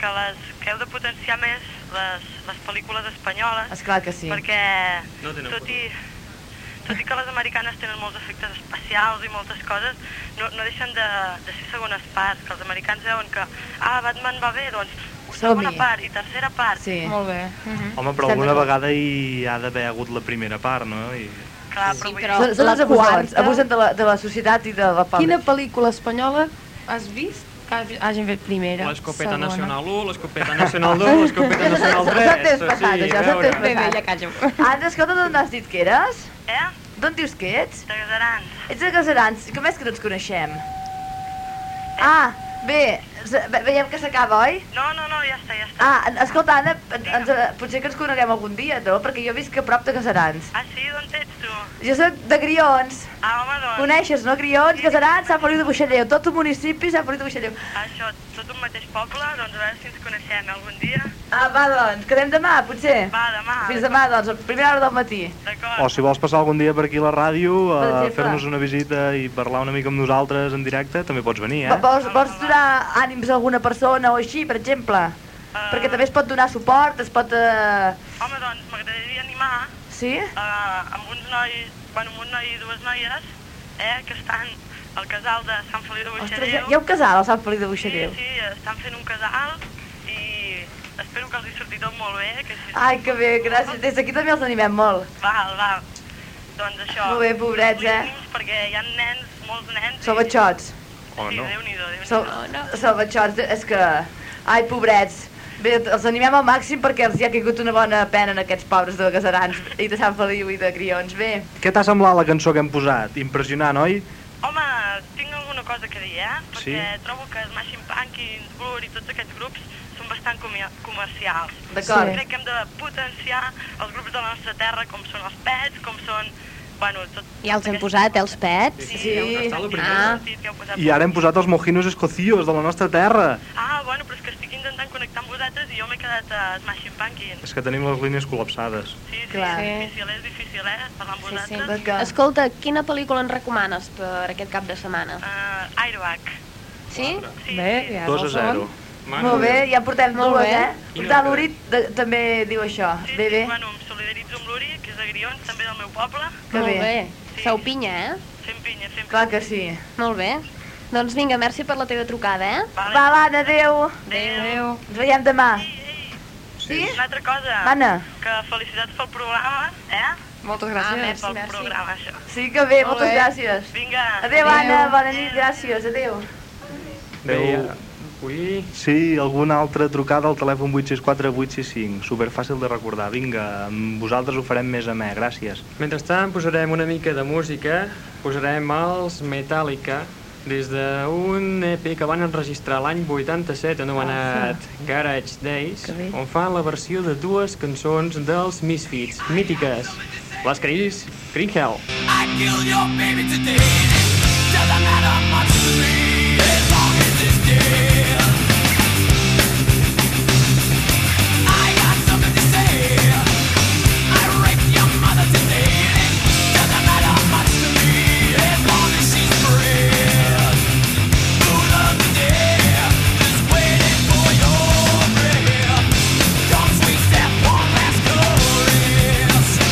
que, les, que heu de potenciar més les, les pel·lícules espanyoles.
Esclar que sí.
Perquè
No tenen
tot i, tot i que les americanes tenen molts efectes especials i moltes coses, no, no deixen de, de ser segones parts, que els americans veuen que ah, Batman va bé, doncs segona part i tercera part.
Sí.
Molt bé. Mm -hmm.
Home, però alguna vegada hi ha d'haver hagut la primera part, no? I...
Clar, però,
sí,
però
però són, són
la
els abusadors,
quarta-
abusen de la, de la societat i de la pau.
Quina pel·lícula espanyola has vist que hagi- hagin fet primera,
L'escopeta
segona?
nacional 1, l'escopeta nacional 2, l'escopeta nacional 3.
Ja t'has passat, això, ja t'has
Bé,
passat.
bé,
ja callo.
Anna, escolta, d'on has dit que eres? Eh? D'on dius que ets?
De Gaserans.
Ets de Gaserans, com és que no ens coneixem? Ah, bé, s- ve- veiem que s'acaba, oi?
Eh? No, no, no, ja està, ja està.
Ah, en- escolta, Anna, en- ens, eh, potser que ens coneguem algun dia, no? Perquè jo visc a prop de Gaserans.
Ah, sí? D'on ets tu?
Jo sóc de Grions.
Ah, home, doncs...
Coneixes, no? Grions, Gaserans, Sant Feliu de Buixalleu. Tot un municipi, Sant Feliu de Buixalleu.
Això, tot un mateix poble, doncs a veure si ens coneixem algun dia.
Ah, va, doncs, quedem demà, potser?
Va, demà.
Fins demà, doncs, a primera hora del matí.
O si vols passar algun dia per aquí a la ràdio
Per
a
exemple.
fer-nos una visita i parlar una mica amb nosaltres en directe, també pots venir,
Yeah.
eh?
Vols, vols donar ànims a alguna persona o així, per exemple? Uh... Perquè també es pot donar suport, es pot... Uh...
Eh, Home, doncs m'agradaria animar
Sí?
eh, amb uns nois, bueno, amb un noi i dues noies, eh, que estan al casal de Sant Feliu de
Ostres,
Buixalleu.
hi ha, hi ha un casal al Sant Feliu de Buixalleu.
Sí, sí, estan fent un casal i espero que els hi surti tot molt bé. Que si...
Ai, que bé, gràcies. Des d'aquí també els animem molt.
Val, val. Doncs això.
Molt bé, pobrets, eh?
Perquè hi ha nens, molts nens.
Sou batxots.
Oh,
no. Déu-n'hi-do, déu
Sou, sou batxots, és que... Ai, pobrets. Bé, els animem al màxim perquè els hi ha caigut una bona pena en aquests pobres de Casarans i de Sant Feliu i de Grions. Bé,
Què t'ha semblat la cançó que hem posat? Impressionant, oi?
Home, tinc alguna cosa que dir, eh?
Sí.
Perquè trobo que Smashing Pumpkins, Blur i tots aquests grups són bastant comi- comercials.
D'acord.
Crec que hem de potenciar els grups de la nostra terra, com són els pets, com són... Bueno, tot...
Ja els hem posat, els pets.
Sí, heu estat la primera.
Ah,
I ara hem posat els mojinos escocíos de la nostra terra.
Ah, bueno, però és que estic intentant connectar amb vosaltres i jo m'he quedat a Smashing Pumpkins.
És que tenim les línies col·lapsades.
Sí, sí,
Clar.
és difícil, és difícil, eh? Parlar amb
sí, sí.
vosaltres.
Escolta, quina pel·lícula ens recomanes per aquest cap de setmana?
Uh, Airbag.
Sí?
Bé, ja és el segon.
molt bé, ja en portem
Molt
dues,
bé.
eh? Portar l'Urit de, també diu això. bé, bé.
Bueno, em solidaritzo amb l'Uri, que és de Grions, també del meu poble.
Que
Molt
bé.
bé. Feu pinya, eh?
Fem pinya, fem
Clar que sí.
Molt bé. Doncs vinga, merci per la teva trucada, eh?
Va, Anna, adeu.
Adéu.
Ens veiem demà.
Sí? Una altra cosa.
Anna.
Que felicitats pel programa, eh?
Moltes
Ah, bé,
gràcies.
pel
Merci, merci.
programa, això.
Sí que bé,
Molt
moltes
bé.
gràcies.
Vinga.
Adéu, Anna, bona nit, gràcies, adéu.
Bé, ja.
Ui,
Sí, alguna altra trucada al telèfon 864-865. Superfàcil de recordar. Vinga, amb vosaltres ho farem més a mà. Gràcies.
Mentrestant posarem una mica de música, posarem els Metallica des d'un EP que van enregistrar l'any 87 anomenat Garage Days, on fan la versió de dues cançons dels Misfits, mítiques, les que ells Green Hell.
I kill your baby today. Doesn't matter much to me as long as it's dead. I got something to say. I raped your mother today. Doesn't matter much to me as long as she's free. Fool of the day, just waiting for your breath. Don't sweet that one last caress.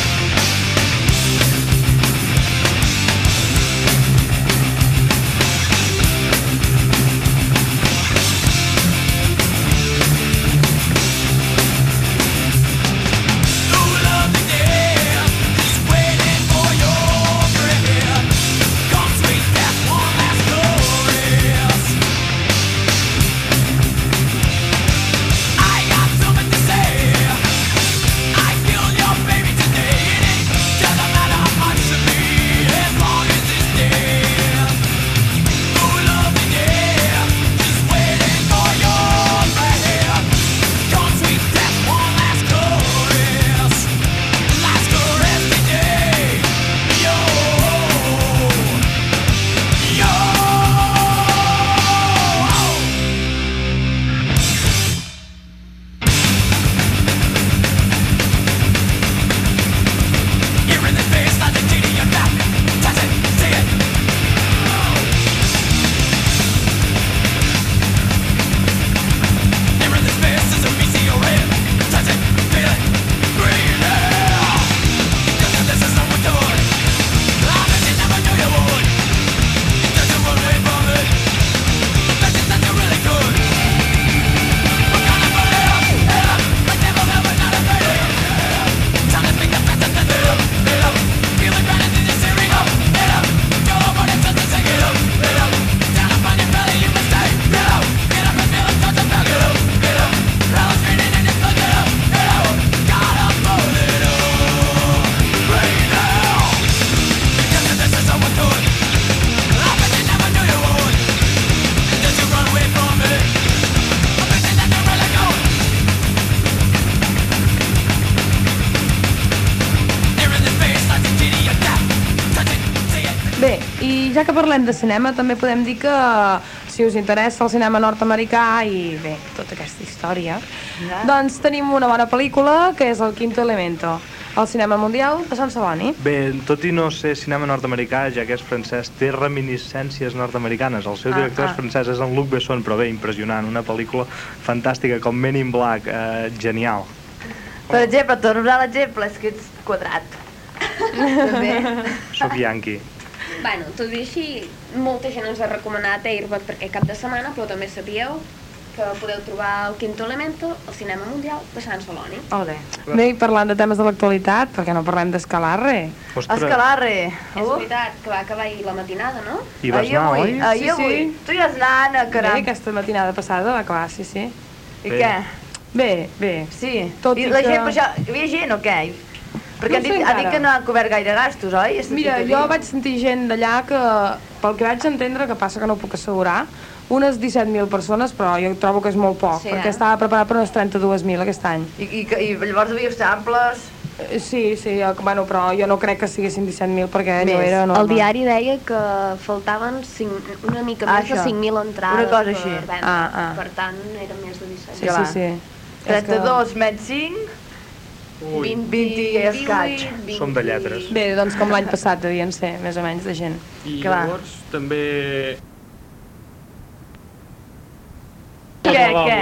Bé, i ja que parlem de cinema, també podem dir que eh, si us interessa el cinema nord-americà i bé, tota aquesta història, doncs tenim una bona pel·lícula que és El Quinto Elemento, al cinema mundial de Sant Celoni.
Bé, tot i no ser cinema nord-americà, ja que és francès, té reminiscències nord-americanes. El seu
Ah,
director
ah.
és francès, és en Luc Besson, però bé, impressionant. Una pel·lícula fantàstica, com Men in Black, eh, genial.
Per exemple, torno a l'exemple, és que ets quadrat. També.
Soc yankee.
Bueno, tot i així, molta gent ens ha recomanat Airbag per aquest cap de setmana, però també sabíeu que podeu trobar el Quinto Elemento al Cinema Mundial de Sant Celoni.
Ole. Bé, i parlant de temes de l'actualitat, perquè no parlem d'Escalarre.
Escalarre.
És veritat, que va acabar ahir la matinada, no?
Hi vas anar, oi?
ahir avui. Tu hi has anat, eh, caram.
Bé, aquesta matinada passada va acabar, sí, sí.
I Bé. què?
Bé, bé.
Sí.
Tot
I
i
la
que-
gent, però això, hi havia gent o què?
No
Perquè han
sé
dit, han dit
encara.
que no han cobert gaire gastos, oi? He sentit
Mira,
a dir.
jo vaig sentir gent d'allà que, pel que vaig entendre, que passa que no ho puc assegurar, unes 17.000 persones, però jo trobo que és molt poc,
Sí,
sí,
eh?
perquè estava preparat per unes 32.000 aquest any.
I, i, que- i llavors devia estar amples...
Eh, Sí, sí, eh, bueno, però jo no crec que siguessin 17.000 perquè no
Més.
era normal.
El diari deia que faltaven cinc, una mica
Ah,
més de
això.
5.000 entrades
Una cosa
per
així.
vendre.
Ah, ah.
Per tant, era més de 17.
Sí, clar.
sí.
32 menys 5,
20,
20 i escaig.
Som de lletres.
Bé, doncs com l'any passat devien ser, més o menys, de gent.
I
Clar.
llavors també...
Què, què?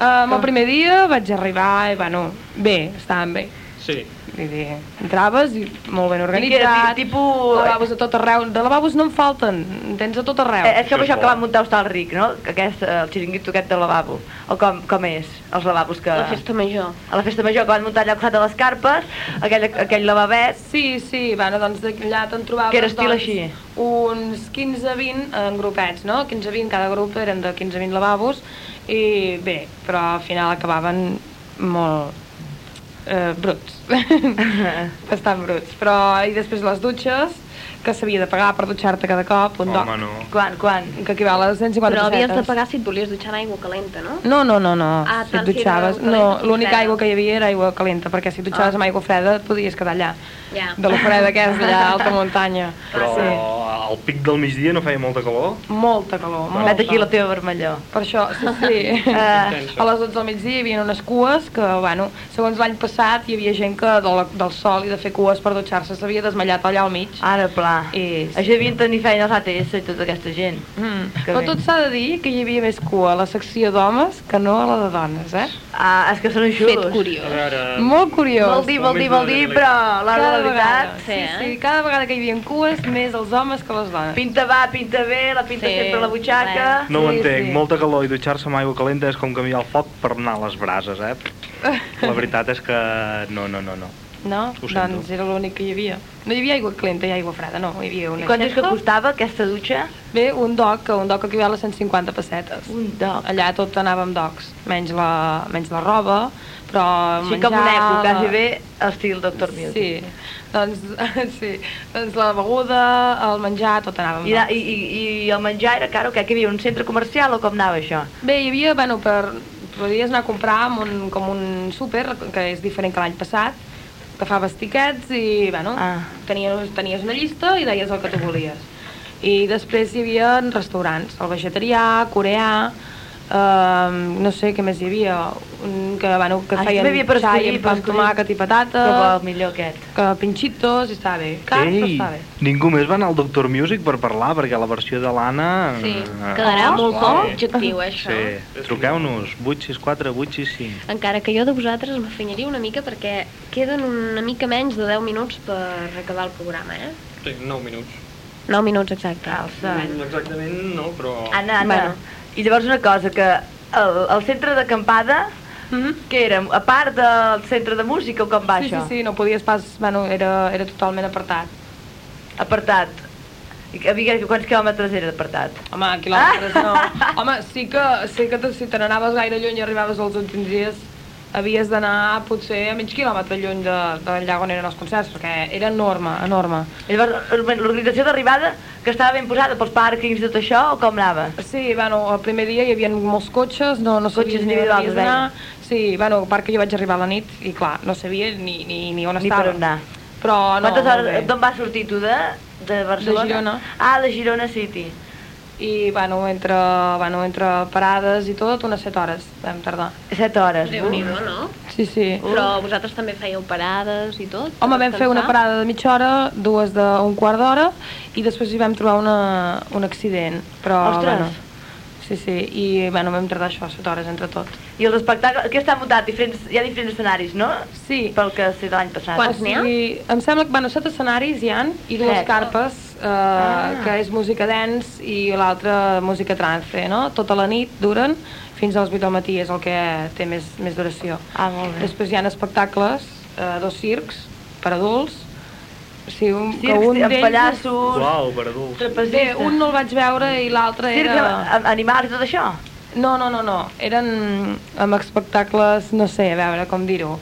Um, el primer dia vaig arribar i, bueno, bé, estàvem bé.
Sí.
Vull dir, entraves i molt ben
era
organitzat.
ti- tipus-
Lavabos a tot arreu. De lavabos no en falten, en tens a tot arreu.
Eh, és com això que van muntar Hostal Ric, no? Que Aquest, eh, el xiringuito aquest de lavabo. O com, com és, els lavabos que...
La festa
major. A la festa major, que van muntar allà al costat de les carpes, aquell, aquell lavabet...
Sí, sí, bueno, doncs d'allà te'n trobaves...
Que era estil
doncs,
així.
Uns 15-20 en grupets, no? 15-20, cada grup eren de 15-20 lavabos, i bé, però al final acabaven molt eh, bruts, bastant bruts. Però, i després les dutxes, que s'havia de pagar per dutxar-te cada cop, un
Home,
doc.
no.
Quan, quan? Que aquí val a les 150
Però havies de
pessetes.
pagar si et volies dutxar amb aigua calenta, no?
No, no, no, no.
Ah,
si
tant
et
si era
dutxaves,
aigua
no,
calenta com
l'única
freda.
aigua que hi havia era aigua calenta, perquè si et dutxaves
Ah.
amb aigua freda et podies quedar allà.
Ja.
De la freda que és d'allà a alta muntanya.
Però
Sí.
al pic del migdia no feia molta calor?
Molta calor,
Bueno.
molta.
Vet aquí la
teva vermelló.
Per això, sí, sí.
Intenso.
Eh, a les 12 del migdia hi havia unes cues que, bueno, segons l'any passat hi havia gent que de la, del sol i de fer cues per dutxar-se s'havia desmallat allà al mig.
Ara, pla.
I...
Això devien tenir feina els ATS i tota aquesta gent.
Mm.
Que
Però
bé.
tot s'ha de dir que hi havia més cua a la secció d'homes que no a la de dones, eh?
Ah, és que són injustos.
Fet curiós.
A veure,
Molt curiós.
Vol dir, vol dir, vol dir, però la
Cada
realitat...
vegada, sí, eh? sí, cada vegada que hi havia cues, més els homes que les dones.
Pinta va, pinta bé, la pinta
Sí,
sempre a la butxaca...
No ho entenc,
sí.
molta calor i dutxar-se amb aigua calenta és com caminar al foc per anar a les brases, eh? La veritat és que no, no, no, no.
No?
Ho sento.
Doncs era l'únic que hi havia. No hi havia aigua calenta i aigua freda, no. Hi havia una
I quant és que
costava aquesta dutxa? Bé, un doc, que un doc aquí a les 150 pessetes. Un doc. Allà tot anava amb docs, menys la, menys la roba, però
Així
menjar...
com una època, quasi bé, estil Dr. Milk.
Sí, doncs, sí. doncs la beguda, el menjar, tot anava amb
I,
docs.
i, i, I el menjar era car o què? Que hi havia un centre comercial o com anava això?
Bé, hi havia, bueno, per... Podies anar a comprar amb un, com un súper, que és diferent que l'any passat, que fa tiquets i, bueno, ah. tenies, tenies una llista i deies el que tu volies. I després hi havia restaurants, el vegetarià, coreà, eh, no sé què més hi havia, un que, bueno, que
Ah,
feien
també hi havia per
xai
escollir,
amb
per
pa amb
escollir.
tomàquet i patata,
Que bo, millor aquest.
que pinxitos, i estava bé. Car, però estava bé.
ningú més va anar al Doctor Music per parlar, perquè la versió de l'Anna...
Sí,
eh,
quedarà
és
molt
clar,
poc
eh?
objectiu, eh, això.
Sí, truqueu-nos, 864 865.
Encara que jo de vosaltres m'afanyaria una mica perquè queden una mica menys de 10 minuts per acabar el programa, eh?
Sí, 9 minuts.
9 minuts exactes.
Mm, Exactament Ah, no, però...
Ah, Anna, Anna. Bueno. I llavors una cosa, que el, el centre d'acampada, mm -hmm. que era a part del centre de música o com va
Mm-hmm. sí,
això?
Sí, sí, no podies pas... Bueno, era, era totalment apartat.
Apartat. I que- Aviam, quants quilòmetres era Ah! d'apartat?
Home, quilòmetres no. Home, sí que, sí que te- si te n'anaves gaire lluny i arribaves als últims dies, havies d'anar potser a mig quilòmetre lluny de, de llac on eren els concerts, perquè era enorme, enorme.
Llavors, l'organització d'arribada, que estava ben posada pels pàrquings i tot això, o com anava?
Sí, bueno, el primer dia hi havia molts cotxes, no, no
Cotxes
sabies ni on
individuals,
havies d'anar. Sí, bueno, a part que jo vaig arribar a la nit i clar, no sabia ni, ni, ni on
Ni
estava.
per on anar.
Però no,
Quantes
molt
hores,
bé.
d'on vas sortir tu, de, de Barcelona?
Girona.
Ah, de Girona City.
I, bueno, entre, bueno, entre parades i tot, unes 7 hores vam tardar.
7 hores.
Déu-n'hi-do, no?
Sí, sí.
Però vosaltres també fèieu parades i tot?
Home, vam fer una parada de mitja hora, dues d'un quart d'hora, i després hi vam trobar una, un accident. Però,
Ostres.
Bueno, sí, sí, i bueno, vam tardar això, set hores entre tot.
I els espectacles, que està muntat, diferents, hi ha diferents escenaris, no?
Sí.
Pel que sé de l'any passat.
O sigui, Em sembla que, bueno, set escenaris hi han i dues
Set.
carpes, eh, ah. que és música dance i l'altra música trance, no? Tota la nit duren fins a les 8 del matí, és el que té més, més duració.
Ah, molt bé.
Després hi ha espectacles, eh, dos circs per adults, o sigui, un, que
Circs
un
amb
d'ells...
pallassos.
Uau, per adults.
Bé, un no el vaig veure i l'altre
Circ
era...
amb animals i tot això?
No, no, no, no. Eren amb espectacles, no sé, a veure com dir-ho.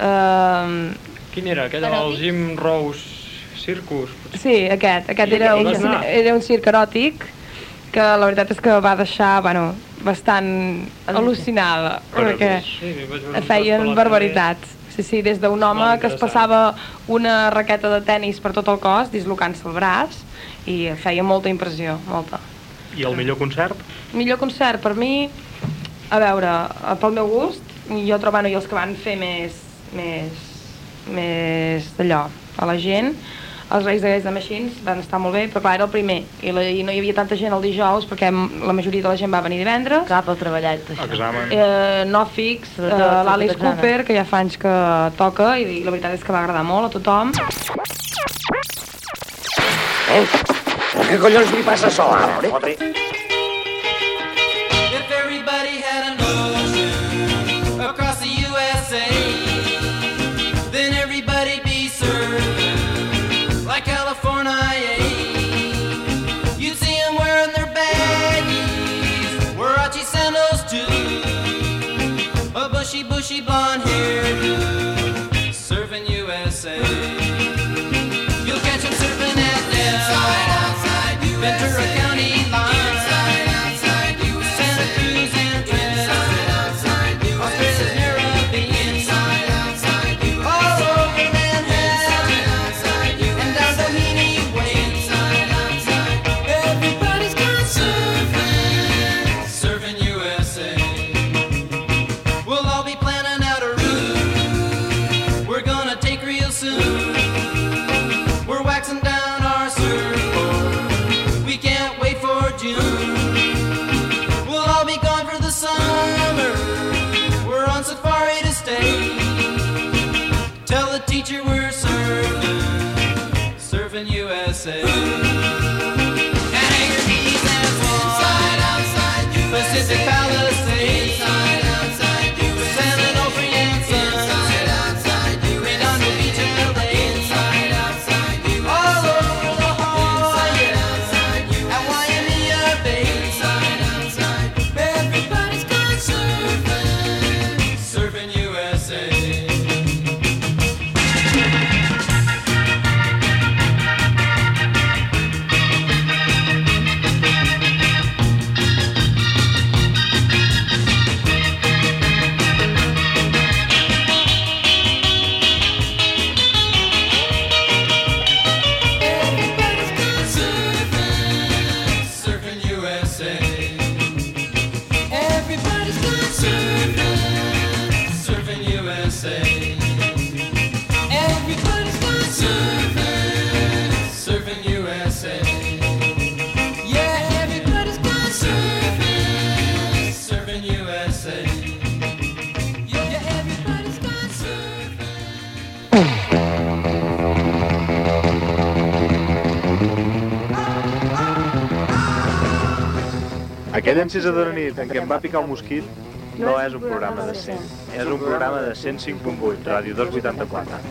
Uh,
Quin era? Aquest del Jim Rose Circus?
sí, aquest. Aquest
I
era
hi
un,
vas anar?
era un circ eròtic que la veritat és que va deixar, bueno, bastant al·lucinada.
Però
Perquè
sí, vaig veure uns dos
feien
pelotes.
barbaritats. Sí, sí, des d'un home
Molt
que es
interessant.
passava una raqueta de tennis per tot el cos, dislocant-se el braç, i feia molta impressió, molta.
I el millor concert?
Millor concert per mi, a veure, eh, pel meu gust, jo trobo, bueno, i els que van fer més, més, més d'allò a la gent, els Reis de Guys de Machines van estar molt bé, però clar, era el primer, i, la, i no hi havia tanta gent el dijous perquè m- la majoria de la gent va venir divendres.
Cap al treballat,
Examen.
Eh, no fix, eh,
Sobretot, sobretot
l'Alice
Anna.
Cooper, que ja fa anys que toca i, i la veritat és que va agradar molt a tothom.
Eh? Què collons li passa sola, Lore?
If everybody had an ocean across the USA, then everybody'd be surfing like California. You'd see 'em wearing their baggies, Warachi sandals too, a bushy, bushy blonde hairdo, surfing USA. You'll catch 'em surfing at Inside, outside, Ventura County line. Inside, outside, Santa Cruz and Inside, outside, Australia's narrow beach. Inside, outside, All over Manhattan. And down Bohemian Way. Everybody's gone surfing. Surfing USA. We'll all be planning out a route. We're gonna take real soon. We're waxing down our surfboard. We can't wait for June. We'll all be gone for the summer. We're on safari to stay. Tell the teacher we're surfing, surfing USA. At Anchor Keys and Inside, outside, Pacific Palisades. Inside, outside, San Onofre and Sun. Inside, outside, Redondo Beach, LA. Inside, outside, All over La Jolla. Inside, outside, At Waimea Bay. Inside, outside, Everybody's gone surfing, surfing USA. Surfing, surfing USA. Everybody's gone surfing, surfing USA. Everybody's gone surfing, surfing USA. Yeah, everybody's gone surfing, surfing USA. Yeah, everybody's gone surfing.
Aquell encisa de la nit en què em va picar un mosquit no és un programa de 100, és un programa de 105.8, ràdio 284.